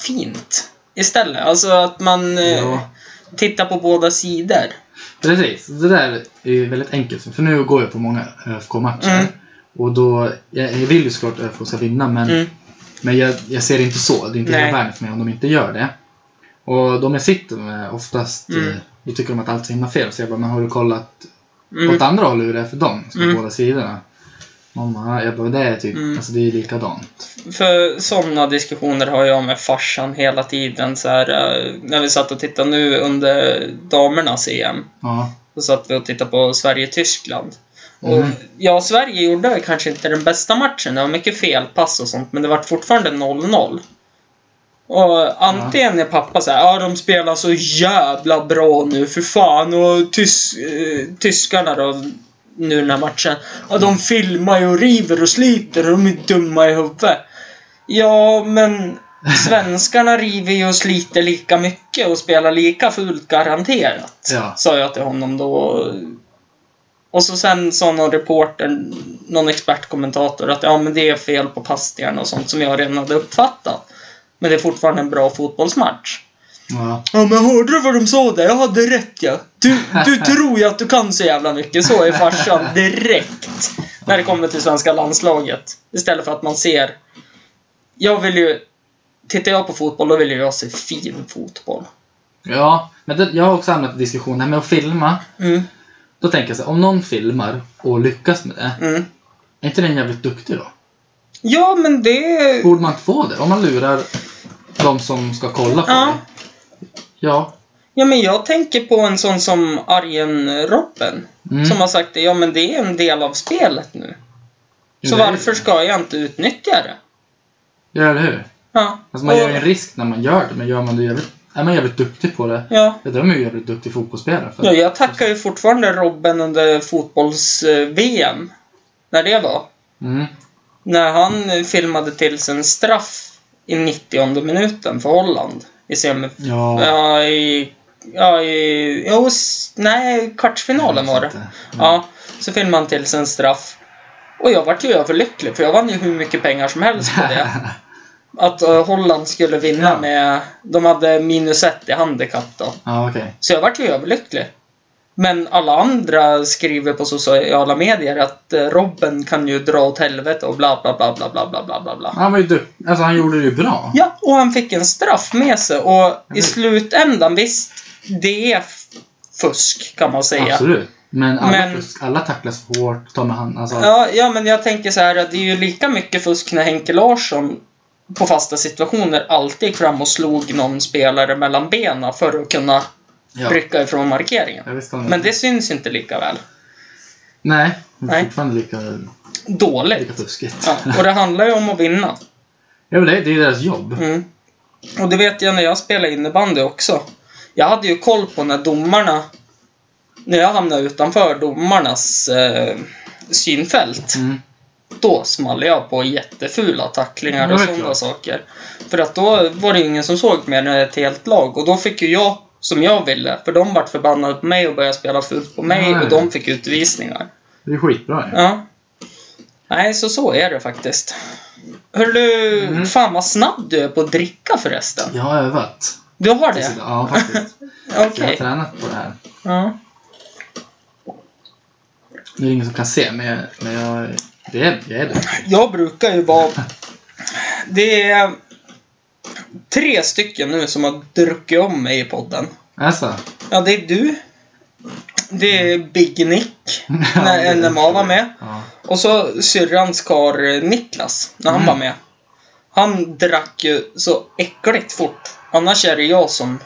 Speaker 5: fint istället. Alltså att man eh,
Speaker 6: Ja.
Speaker 5: tittar på båda sidor.
Speaker 6: Precis. Det där är ju väldigt enkelt. För nu går jag på många ÖFK-matcher.
Speaker 5: Mm.
Speaker 6: Och då, jag, jag vill ju såklart att ÖFK ska vinna, men
Speaker 5: Mm.
Speaker 6: Men jag, jag ser det inte så. Det är inte
Speaker 5: Nej.
Speaker 6: hela världen för mig om de inte gör det. Och de jag sitter med oftast,
Speaker 5: Mm.
Speaker 6: eh, då tycker de att allt är så himla fel. Så jag bara, men har du kollat
Speaker 5: Mm.
Speaker 6: åt andra hållet hur det är för dem? Så på
Speaker 5: Mm.
Speaker 6: båda sidorna. Mamma, jag bara, det är typ,
Speaker 5: Mm.
Speaker 6: alltså det är likadant.
Speaker 5: För sådana diskussioner har jag med farsan hela tiden. Så här, eh, när vi satt och tittade nu under damernas E EM.
Speaker 6: Ja.
Speaker 5: Då satt vi och tittade på Sverige-Tyskland. Och
Speaker 6: Mm.
Speaker 5: ja, Sverige gjorde kanske inte den bästa matchen. Det var mycket felpass och sånt, men det var fortfarande 0-0. Och antingen är pappa så här, ja de spelar så jävla bra nu, för fan. Och tys- eh, tyskarna då, nu den här matchen. Ja, de filmar ju och river och sliter och de är dumma i huvudet. Ja, men svenskarna *laughs* river ju och sliter lika mycket och spelar lika fult garanterat.
Speaker 6: Ja.
Speaker 5: Sa jag till honom då. Och så sen sa någon reporter, någon expertkommentator att ja men det är fel på passningarna och sånt som jag redan hade uppfattat. Men det är fortfarande en bra fotbollsmatch.
Speaker 6: ja.
Speaker 5: Ja men hörde du vad de sa där? Jag hade rätt ja. Du,
Speaker 6: *laughs*
Speaker 5: du tror ju att du kan så jävla mycket. Så är farsan direkt. När det kommer till svenska landslaget. Istället för att man ser. Jag vill ju. Tittar jag på fotboll då vill ju jag se fin fotboll.
Speaker 6: Ja, men det, jag har också hamnat i diskussion här med att filma.
Speaker 5: Mm,
Speaker 6: Då tänker jag så här, om någon filmar och lyckas med det,
Speaker 5: mm.
Speaker 6: är inte den jävligt duktig då?
Speaker 5: Ja men det.
Speaker 6: Borde man inte få det? Om man lurar de som ska kolla på
Speaker 5: Ja.
Speaker 6: det. Ja.
Speaker 5: Ja men jag tänker på en sån som Arjen Robben.
Speaker 6: Mm.
Speaker 5: Som har sagt det. Ja men det är en del av spelet nu. Så
Speaker 6: Nej.
Speaker 5: varför ska jag inte utnyttja det?
Speaker 6: Ja, eller hur?
Speaker 5: Ja.
Speaker 6: Alltså man
Speaker 5: Och-
Speaker 6: gör ju en risk när man gör det, men gör man det jävligt, är man jävligt duktig på det,
Speaker 5: Ja.
Speaker 6: ja, då är man ju jävligt duktig fotbollsspelare. För
Speaker 5: Ja, jag tackar ju fortfarande Robben under fotbolls-VM. När det var.
Speaker 6: mm.
Speaker 5: När han eh, filmade till sin straff i 90 minuten för Holland. I semi...
Speaker 6: ja,
Speaker 5: Ja, i... Ja, i... Jo, s- nej, kvartsfinalen var det.
Speaker 6: Mm.
Speaker 5: Ja, så filmade han till sin straff. Och jag vart ju överlycklig, för jag vann ju hur mycket pengar som helst på
Speaker 6: *laughs*
Speaker 5: det. Att eh, Holland skulle vinna
Speaker 6: Ja.
Speaker 5: med... De hade minus ett i handikapp då.
Speaker 6: *laughs* ja, okej.
Speaker 5: Så jag vart ju överlycklig. Men alla andra skriver på sociala medier att eh, Robben kan ju dra åt helvete och bla bla bla bla bla bla bla bla bla.
Speaker 6: Han var ju duktig. Alltså han gjorde det ju bra.
Speaker 5: Ja, och han fick en straff med sig och i
Speaker 6: Mm.
Speaker 5: slutändan, visst, det är f- fusk kan man säga.
Speaker 6: Absolut. Men alla,
Speaker 5: Men-
Speaker 6: Fusk, alla tacklas hårt, tar med hand. Alltså,
Speaker 5: Ja, ja, men jag tänker så här att det är ju lika mycket fusk när Henke Larsson på fasta situationer alltid gick fram och slog någon spelare mellan benen för att kunna
Speaker 6: ja.
Speaker 5: rycka ifrån markeringen.
Speaker 6: Jag visste
Speaker 5: Men det syns inte lika väl.
Speaker 6: Nej, det är
Speaker 5: Nej.
Speaker 6: fortfarande lika, lika
Speaker 5: Dåligt.
Speaker 6: fuskigt.
Speaker 5: Ja, och det handlar ju om att vinna.
Speaker 6: Ja, men det, det är deras jobb.
Speaker 5: Mm. Och det vet jag när jag spelade innebandy också. Jag hade ju koll på när domarna... När jag hamnade utanför domarnas eh, synfält.
Speaker 6: Mm.
Speaker 5: Då small jag på jättefula tacklingar
Speaker 6: Ja,
Speaker 5: och
Speaker 6: det är
Speaker 5: sådana
Speaker 6: klart.
Speaker 5: saker. För att då var det ju ingen som såg mer än ett helt lag. Och då fick ju jag som jag ville. För de vart förbannade på mig och började spela fult på mig.
Speaker 6: Ja, ja.
Speaker 5: Och de fick utvisningar.
Speaker 6: Det är skitbra ju.
Speaker 5: Ja. Nej, så så är det faktiskt. Hörru du,
Speaker 6: Mm.
Speaker 5: fan vad snabb du är på att dricka förresten.
Speaker 6: Jag har övat.
Speaker 5: Du har
Speaker 6: tills
Speaker 5: det?
Speaker 6: idag. Ja,
Speaker 5: *laughs*
Speaker 6: faktiskt.
Speaker 5: Okej.
Speaker 6: Så Jag har tränat på det här.
Speaker 5: Ja.
Speaker 6: Nu är det ingen som kan se, men jag, men jag, det är, jag är det.
Speaker 5: Jag brukar ju vara... Det är tre stycken nu som har druckit om mig i podden.
Speaker 6: Alltså.
Speaker 5: Ja, det är du. Det är Big Nick, när NMA var med.
Speaker 6: Ja.
Speaker 5: Och så syrrans kar eh, Niklas, när han
Speaker 6: Mm.
Speaker 5: var med. Han drack ju så äckligt fort. Annars är det jag som...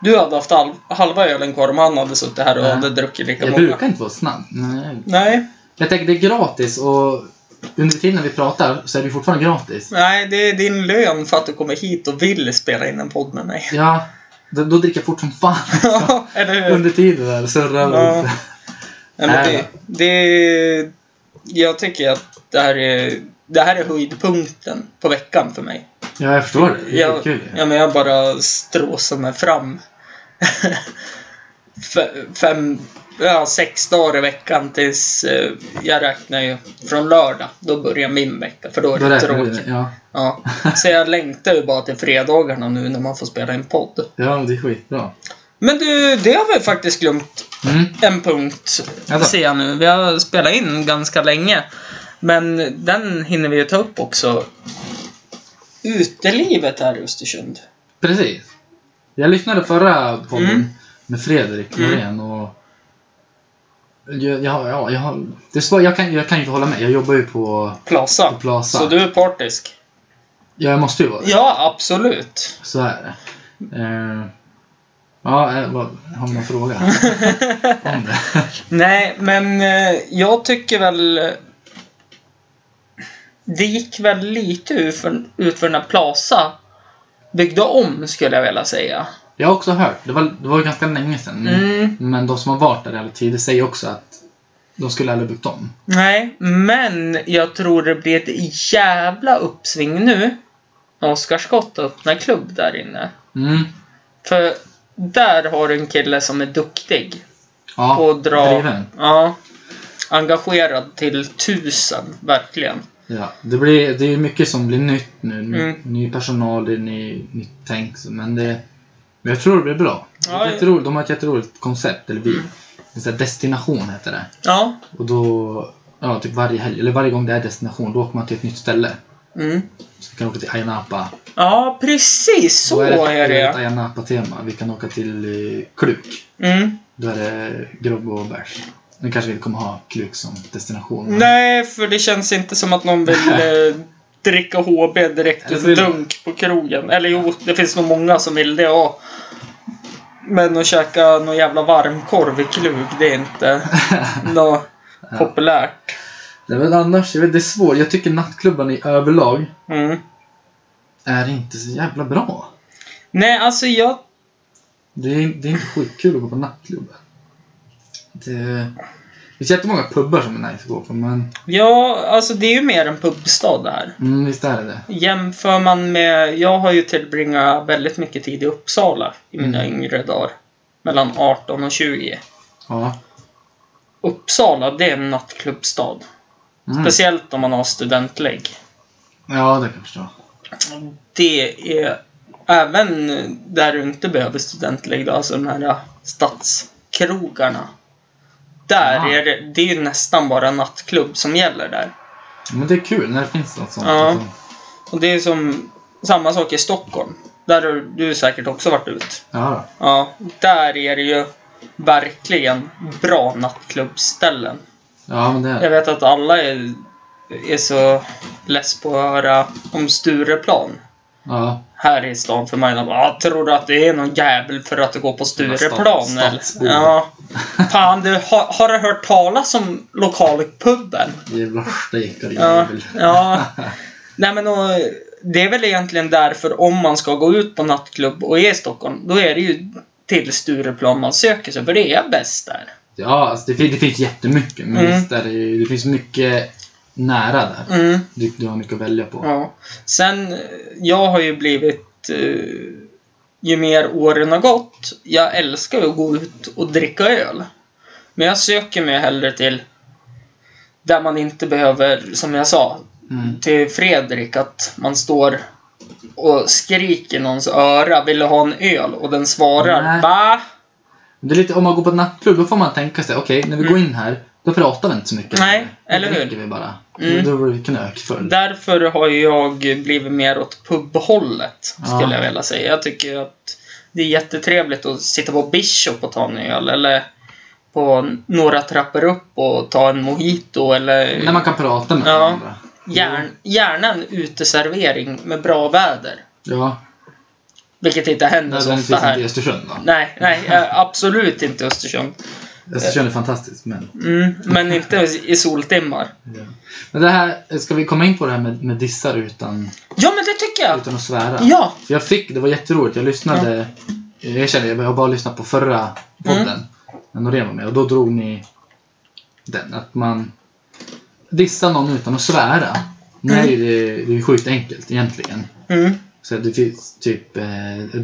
Speaker 5: Du hade haft halv, halva ölen kvar om han hade suttit här och
Speaker 6: Nej.
Speaker 5: hade druckit lika
Speaker 6: Jag
Speaker 5: många.
Speaker 6: brukar inte vara snabb. Nej.
Speaker 5: Nej,
Speaker 6: Jag tänker, det är gratis och under tiden vi pratar så är det fortfarande gratis.
Speaker 5: nej, det är din lön för att du kommer hit och vill spela in en podd med mig. *laughs*
Speaker 6: Ja, då, då dricker jag fort som fan. *laughs*
Speaker 5: Ja, Eller hur?
Speaker 6: Under tiden där, surrar
Speaker 5: Ja.
Speaker 6: och lite.
Speaker 5: Nej, men det, det, jag tycker att det här, är, det här är höjdpunkten på veckan för mig.
Speaker 6: Ja, jag förstår det. Det är
Speaker 5: Jag,
Speaker 6: kul.
Speaker 5: ja, men jag bara stråsar mig fram. *laughs* Fe- Fem, ja, sex dagar i veckan tills eh, jag räknar ju från lördag. Då börjar min vecka för då är
Speaker 6: Då
Speaker 5: det
Speaker 6: räknar vi det.
Speaker 5: tråkigt.
Speaker 6: Ja.
Speaker 5: Ja. Så jag längtar ju bara till fredagarna nu när man får spela en podd.
Speaker 6: ja, men det är skitbra.
Speaker 5: Men du, det har vi faktiskt glömt
Speaker 6: Mm.
Speaker 5: en punkt
Speaker 6: Alltså.
Speaker 5: ser jag nu. Vi har spelat in ganska länge. Men den hinner vi ju ta upp också. Utelivet här i Östersund.
Speaker 6: Precis. Jag lyssnade förra podden
Speaker 5: Mm.
Speaker 6: med Fredrik
Speaker 5: Mm.
Speaker 6: Norén och... Jag, jag, har- ja, jag, har- det är svårt, jag, kan, jag kan ju inte hålla med. Jag jobbar ju på,
Speaker 5: Plaza.
Speaker 6: på Plaza.
Speaker 5: Så du är partisk?
Speaker 6: Ja, jag måste ju vara det.
Speaker 5: Ja, absolut.
Speaker 6: Så är det. Eh, ja, eh, vad, har man
Speaker 5: *laughs*
Speaker 6: någon fråga om det?
Speaker 5: Nej, men eh, jag tycker väl... eh, Det gick väl lite ut för, ut för när Plaza byggde om, skulle jag vilja säga.
Speaker 6: Jag har också hört, det var, det var ju ganska länge sedan.
Speaker 5: Mm.
Speaker 6: Men de som har varit där hela tiden säger också att de skulle aldrig byggt om.
Speaker 5: Nej, men jag tror det blir ett jävla uppsving nu. när Oskar Skott öppnar klubb där inne.
Speaker 6: Mm.
Speaker 5: För där har du en kille som är duktig
Speaker 6: Ja,
Speaker 5: på att dra...
Speaker 6: driven.
Speaker 5: Ja. Engagerad till tusen, verkligen.
Speaker 6: Ja, det, blir, det är mycket som blir nytt nu. Ny,
Speaker 5: Mm.
Speaker 6: ny personal, det är ny, nytt tänk. så- Men, det, men jag tror det blir bra. Det
Speaker 5: Ja,
Speaker 6: är
Speaker 5: ja. Mm.
Speaker 6: jätteroligt, de har ett jätteroligt koncept, eller vi. En sån här destination heter det.
Speaker 5: Ja.
Speaker 6: Och då, ja, typ varje helg, eller varje gång det är destination, då åker man till ett nytt ställe.
Speaker 5: Mm.
Speaker 6: Så vi kan åka till Ayia Napa.
Speaker 5: Ja, precis så
Speaker 6: då
Speaker 5: är det.
Speaker 6: det ett Ayia Napa-tema. Vi kan åka till eh, Kluk.
Speaker 5: Mm.
Speaker 6: Då är det grogg och bärs. Nu kanske vi inte kommer ha Kluk som destination. men-
Speaker 5: Nej, för det känns inte som att någon
Speaker 6: *laughs*
Speaker 5: vill eh, dricka HB direkt
Speaker 6: Eller
Speaker 5: ur
Speaker 6: vill-
Speaker 5: dunk på krogen. Eller jo, det finns nog många som vill det. Ja. Men att käka någon jävla varmkorv i klug, det är
Speaker 6: *laughs*
Speaker 5: inte något populärt.
Speaker 6: Nej, men annars, jag vet, det är svårt. Jag tycker nattklubban i överlag
Speaker 5: Mm.
Speaker 6: är inte så jävla bra.
Speaker 5: Nej, alltså jag...
Speaker 6: Det är, det är inte skitkul att gå på nattklubb. Det, det finns jättemånga pubbar som är nice att gå på, men
Speaker 5: Ja, alltså det är ju mer en pubstad det här.
Speaker 6: mm, visst är det det.
Speaker 5: Jämför man med... Jag har ju tillbringat väldigt mycket tid i Uppsala i mina
Speaker 6: Mm.
Speaker 5: yngre dagar. Mellan 18 och 20.
Speaker 6: Ja.
Speaker 5: Uppsala, det är en nattklubbstad.
Speaker 6: Mm.
Speaker 5: Speciellt om man har studentlägg.
Speaker 6: Ja, det kan jag förstå.
Speaker 5: Det är även där du inte behöver studentlägg, då, alltså de här stadskrogarna. Där
Speaker 6: Ah.
Speaker 5: är det, det är ju nästan bara nattklubb som gäller där.
Speaker 6: Men det är kul när det finns något sånt.
Speaker 5: Ja.
Speaker 6: Alltså.
Speaker 5: Och det är som samma sak i Stockholm. Där har du säkert också varit ut.
Speaker 6: Ja,
Speaker 5: Ja, där är det ju verkligen bra nattklubbsställen.
Speaker 6: Ja, men det är
Speaker 5: Jag vet att alla är, är så less på att höra om Stureplan
Speaker 6: Ja,
Speaker 5: här i stan för mig. De bara, "Ah, tror du att det är någon jävel för att du går på Stureplan
Speaker 6: Stats-
Speaker 5: eller?
Speaker 6: stadsbo.
Speaker 5: Ja. Fan du, har, har du hört talas om lokalpuben?
Speaker 6: jävla stekare
Speaker 5: Ja,
Speaker 6: jävel.
Speaker 5: ja. Nej men och, det är väl egentligen därför om man ska gå ut på nattklubb och är i Stockholm, då är det ju till Stureplan man söker sig, för det är bäst där.
Speaker 6: Ja, alltså det, fin- det finns jättemycket. Men
Speaker 5: Mm.
Speaker 6: visst är det ju, det finns mycket nära där.
Speaker 5: Mm.
Speaker 6: Du, du har mycket att välja på.
Speaker 5: Ja. Sen, eh, jag har ju blivit... Eh, ju mer åren har gått, jag älskar ju att gå ut och dricka öl. Men jag söker mig hellre till där man inte behöver, som jag sa,
Speaker 6: Mm.
Speaker 5: till Fredrik, att man står och skriker i någons öra, vill du ha en öl? Och den svarar
Speaker 6: Nej.
Speaker 5: va?
Speaker 6: Det är lite, om man går på nattklubb, då får man tänka sig, okej, när vi
Speaker 5: Mm.
Speaker 6: går in här, då pratar vi inte så mycket.
Speaker 5: Nej,
Speaker 6: längre.
Speaker 5: eller
Speaker 6: då
Speaker 5: hur?
Speaker 6: dricker vi bara.
Speaker 5: Mm.
Speaker 6: Då blir vi knökfull.
Speaker 5: Därför har jag blivit mer åt pubhållet, skulle
Speaker 6: Ja.
Speaker 5: jag vilja säga. Jag tycker att det är jättetrevligt att sitta på Bishop och ta en öl, eller på några trappor upp och ta en mojito, eller
Speaker 6: När man kan prata med
Speaker 5: Ja.
Speaker 6: varandra.
Speaker 5: gärna, gärna en uteservering med bra väder.
Speaker 6: Ja,
Speaker 5: Vilket inte händer så
Speaker 6: nödvändigtvis
Speaker 5: ofta
Speaker 6: inte i
Speaker 5: här.
Speaker 6: Östersund då.
Speaker 5: Nej, nej, eh, absolut inte i Östersund.
Speaker 6: Östersund är fantastiskt, men...
Speaker 5: Mm, men inte i soltimmar.
Speaker 6: Ja. Men det här, ska vi komma in på det här med, med dissar utan,
Speaker 5: Ja, men det tycker jag!
Speaker 6: utan att svära?
Speaker 5: Ja!
Speaker 6: För jag fick, det var jätteroligt, jag lyssnade, jag känner, jag har bara lyssnat på förra podden.
Speaker 5: Mm.
Speaker 6: När Norén var med och då drog ni den, att man dissar någon utan att svära. Nej, det, det är ju sjukt enkelt egentligen.
Speaker 5: Mm,
Speaker 6: Så det finns typ eh,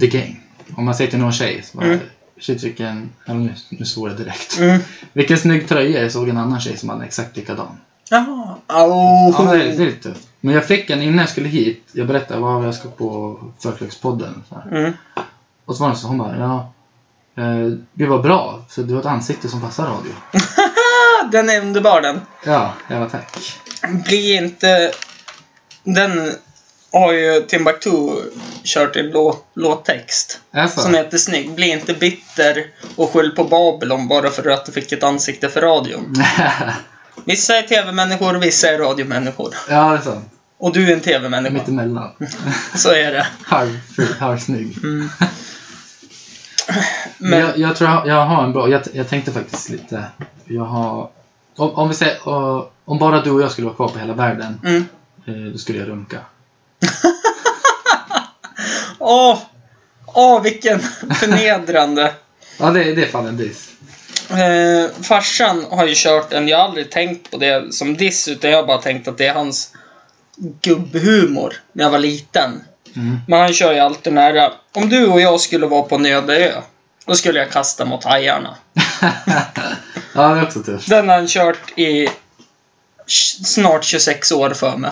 Speaker 6: the game. Om man säger till någon tjej, så bara,
Speaker 5: Mm.
Speaker 6: shit vilken, ja, nu, nu svor jag direkt.
Speaker 5: mm.
Speaker 6: Vilken snygg tröja, jag såg en annan tjej som hade exakt likadan.
Speaker 5: Jaha. Oh.
Speaker 6: Ja, men det, det är lite tufft. Men jag fick en innan jag skulle hit, jag berättade vad jag ska på förkrökspodden. Så här.
Speaker 5: Mm.
Speaker 6: Och så var det så, hon bara, ja. Eh, det var bra, för du har ett ansikte som passar radio.
Speaker 5: Ah, Den är underbar den.
Speaker 6: Ja, jävla tack.
Speaker 5: Bli inte... Den har ju Timbuktu kört en låt, låttext.
Speaker 6: Alltså,
Speaker 5: Som heter Snygg. Bli inte bitter och skyll på Babylon bara för att du fick ett ansikte för radion.
Speaker 6: Mm.
Speaker 5: Vissa är tv-människor och vissa är radiomänniskor.
Speaker 6: *laughs* ja, det är sant.
Speaker 5: Och du är en
Speaker 6: Mitt
Speaker 5: tv-människa.
Speaker 6: emellan.
Speaker 5: Så är det.
Speaker 6: Halvful, halvsnygg.
Speaker 5: Mm.
Speaker 6: Men
Speaker 5: Men,
Speaker 6: jag, jag tror jag, jag har en bra, jag, jag tänkte faktiskt lite, jag har, om, om vi säger, eh, om bara du och jag skulle vara kvar på hela världen,
Speaker 5: mm.
Speaker 6: eh, då skulle jag runka.
Speaker 5: Åh! Åh, vilken förnedrande.
Speaker 6: Ja, det, det är fan
Speaker 5: *laughs*
Speaker 6: en diss.
Speaker 5: Eh, farsan har ju kört en, jag har aldrig tänkt på det som diss, utan jag har bara tänkt att det är hans gubbhumor när jag var liten.
Speaker 6: Mm.
Speaker 5: Men han kör ju alltid den här, om du och jag skulle vara på en öde ö, då skulle jag kasta mot hajarna.
Speaker 6: ja, det är också tufft.
Speaker 5: Den har han kört i s- snart 26 år för mig.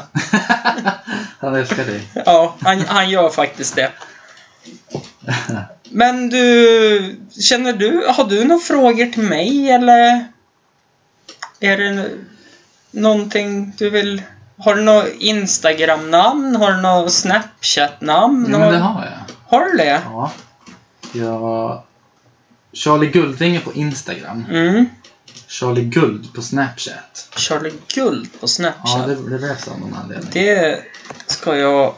Speaker 6: Han älskar dig.
Speaker 5: Ja, han, han gör faktiskt det. Men du, känner du, har du några frågor till mig eller? Är det n- någonting du vill? Har du något Instagram-namn? Har du något Snapchat-namn?
Speaker 6: Jo, men det har jag.
Speaker 5: Har du det?
Speaker 6: Ja. Jag... Charlie Guldringe på Instagram.
Speaker 5: Mm.
Speaker 6: Charlie Guld på Snapchat.
Speaker 5: Charlie Guld på
Speaker 6: Ja,
Speaker 5: Snapchat.
Speaker 6: det, det läser jag av någon anledning.
Speaker 5: Det ska jag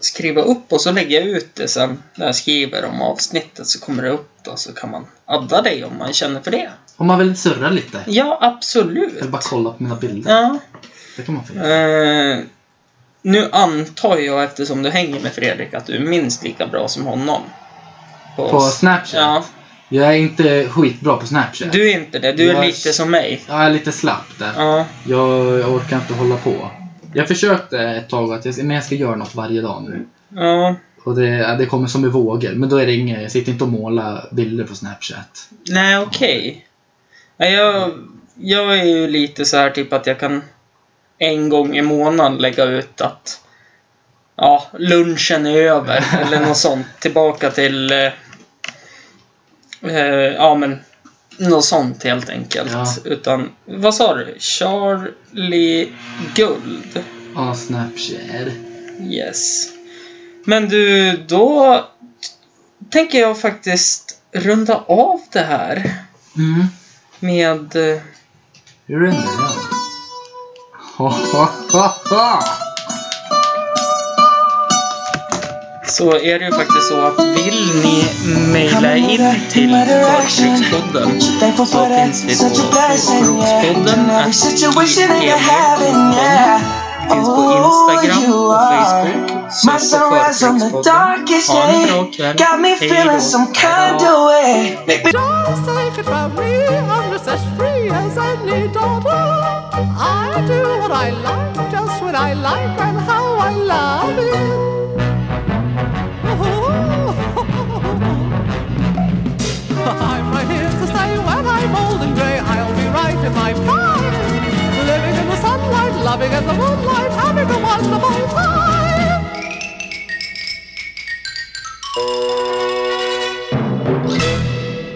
Speaker 5: skriva upp och så lägger jag ut det sen när jag skriver om avsnittet så kommer det upp då så kan man adda dig om man känner för det.
Speaker 6: Om man vill surra lite.
Speaker 5: Ja, absolut.
Speaker 6: Eller bara kolla på mina bilder.
Speaker 5: Ja.
Speaker 6: Det kan man få göra.
Speaker 5: Eh, nu antar jag, eftersom du hänger med Fredrik, att du är minst lika bra som honom.
Speaker 6: På Snapchat?
Speaker 5: Ja.
Speaker 6: Jag är inte skitbra på Snapchat.
Speaker 5: Du är inte det. Du är
Speaker 6: Jag-
Speaker 5: lite som mig.
Speaker 6: Jag är lite slapp där.
Speaker 5: Ja.
Speaker 6: Jag, jag orkar inte hålla på. Jag försökte ett tag att jag ska, men jag ska göra något varje dag nu.
Speaker 5: ja.
Speaker 6: Och det, ja, det kommer som i vågor. Men då är det inget, jag sitter inte och målar bilder på Snapchat.
Speaker 5: Nej, okej. Ja, Jag, jag är ju lite så här typ att jag kan en gång i månaden lägga ut att ja, lunchen är över eller något sånt. Tillbaka till eh, eh, ja men något sånt helt enkelt.
Speaker 6: Ja.
Speaker 5: Utan vad sa du? Charlie Guld.
Speaker 6: Ja, Snapchat.
Speaker 5: Yes. Men du, då tänker jag faktiskt runda av det här
Speaker 6: Mm.
Speaker 5: med... eh,
Speaker 6: Hur är det nu? Ha, ha, ha, ha.
Speaker 5: Så är det ju faktiskt så att vill ni mejla in till Förkrigspodden så finns vi på Förkrigspodden at finns på Instagram och Facebook.
Speaker 7: Oh, My
Speaker 5: Sök på
Speaker 7: sunrise on the
Speaker 5: Förkrigspodden.
Speaker 7: darkest
Speaker 5: Ha en
Speaker 7: day
Speaker 5: bra kväll.
Speaker 7: got me
Speaker 5: Hej
Speaker 7: feeling
Speaker 5: då.
Speaker 7: some kind of way.
Speaker 1: Just take it from me, I'm just as free as any daughter. I do what I like, just what I like, and how I love it. *laughs* I'm right here to say when I'm old and grey, I'll be right in my prime. Living in the sunlight, loving in the moonlight, having a wonderful time.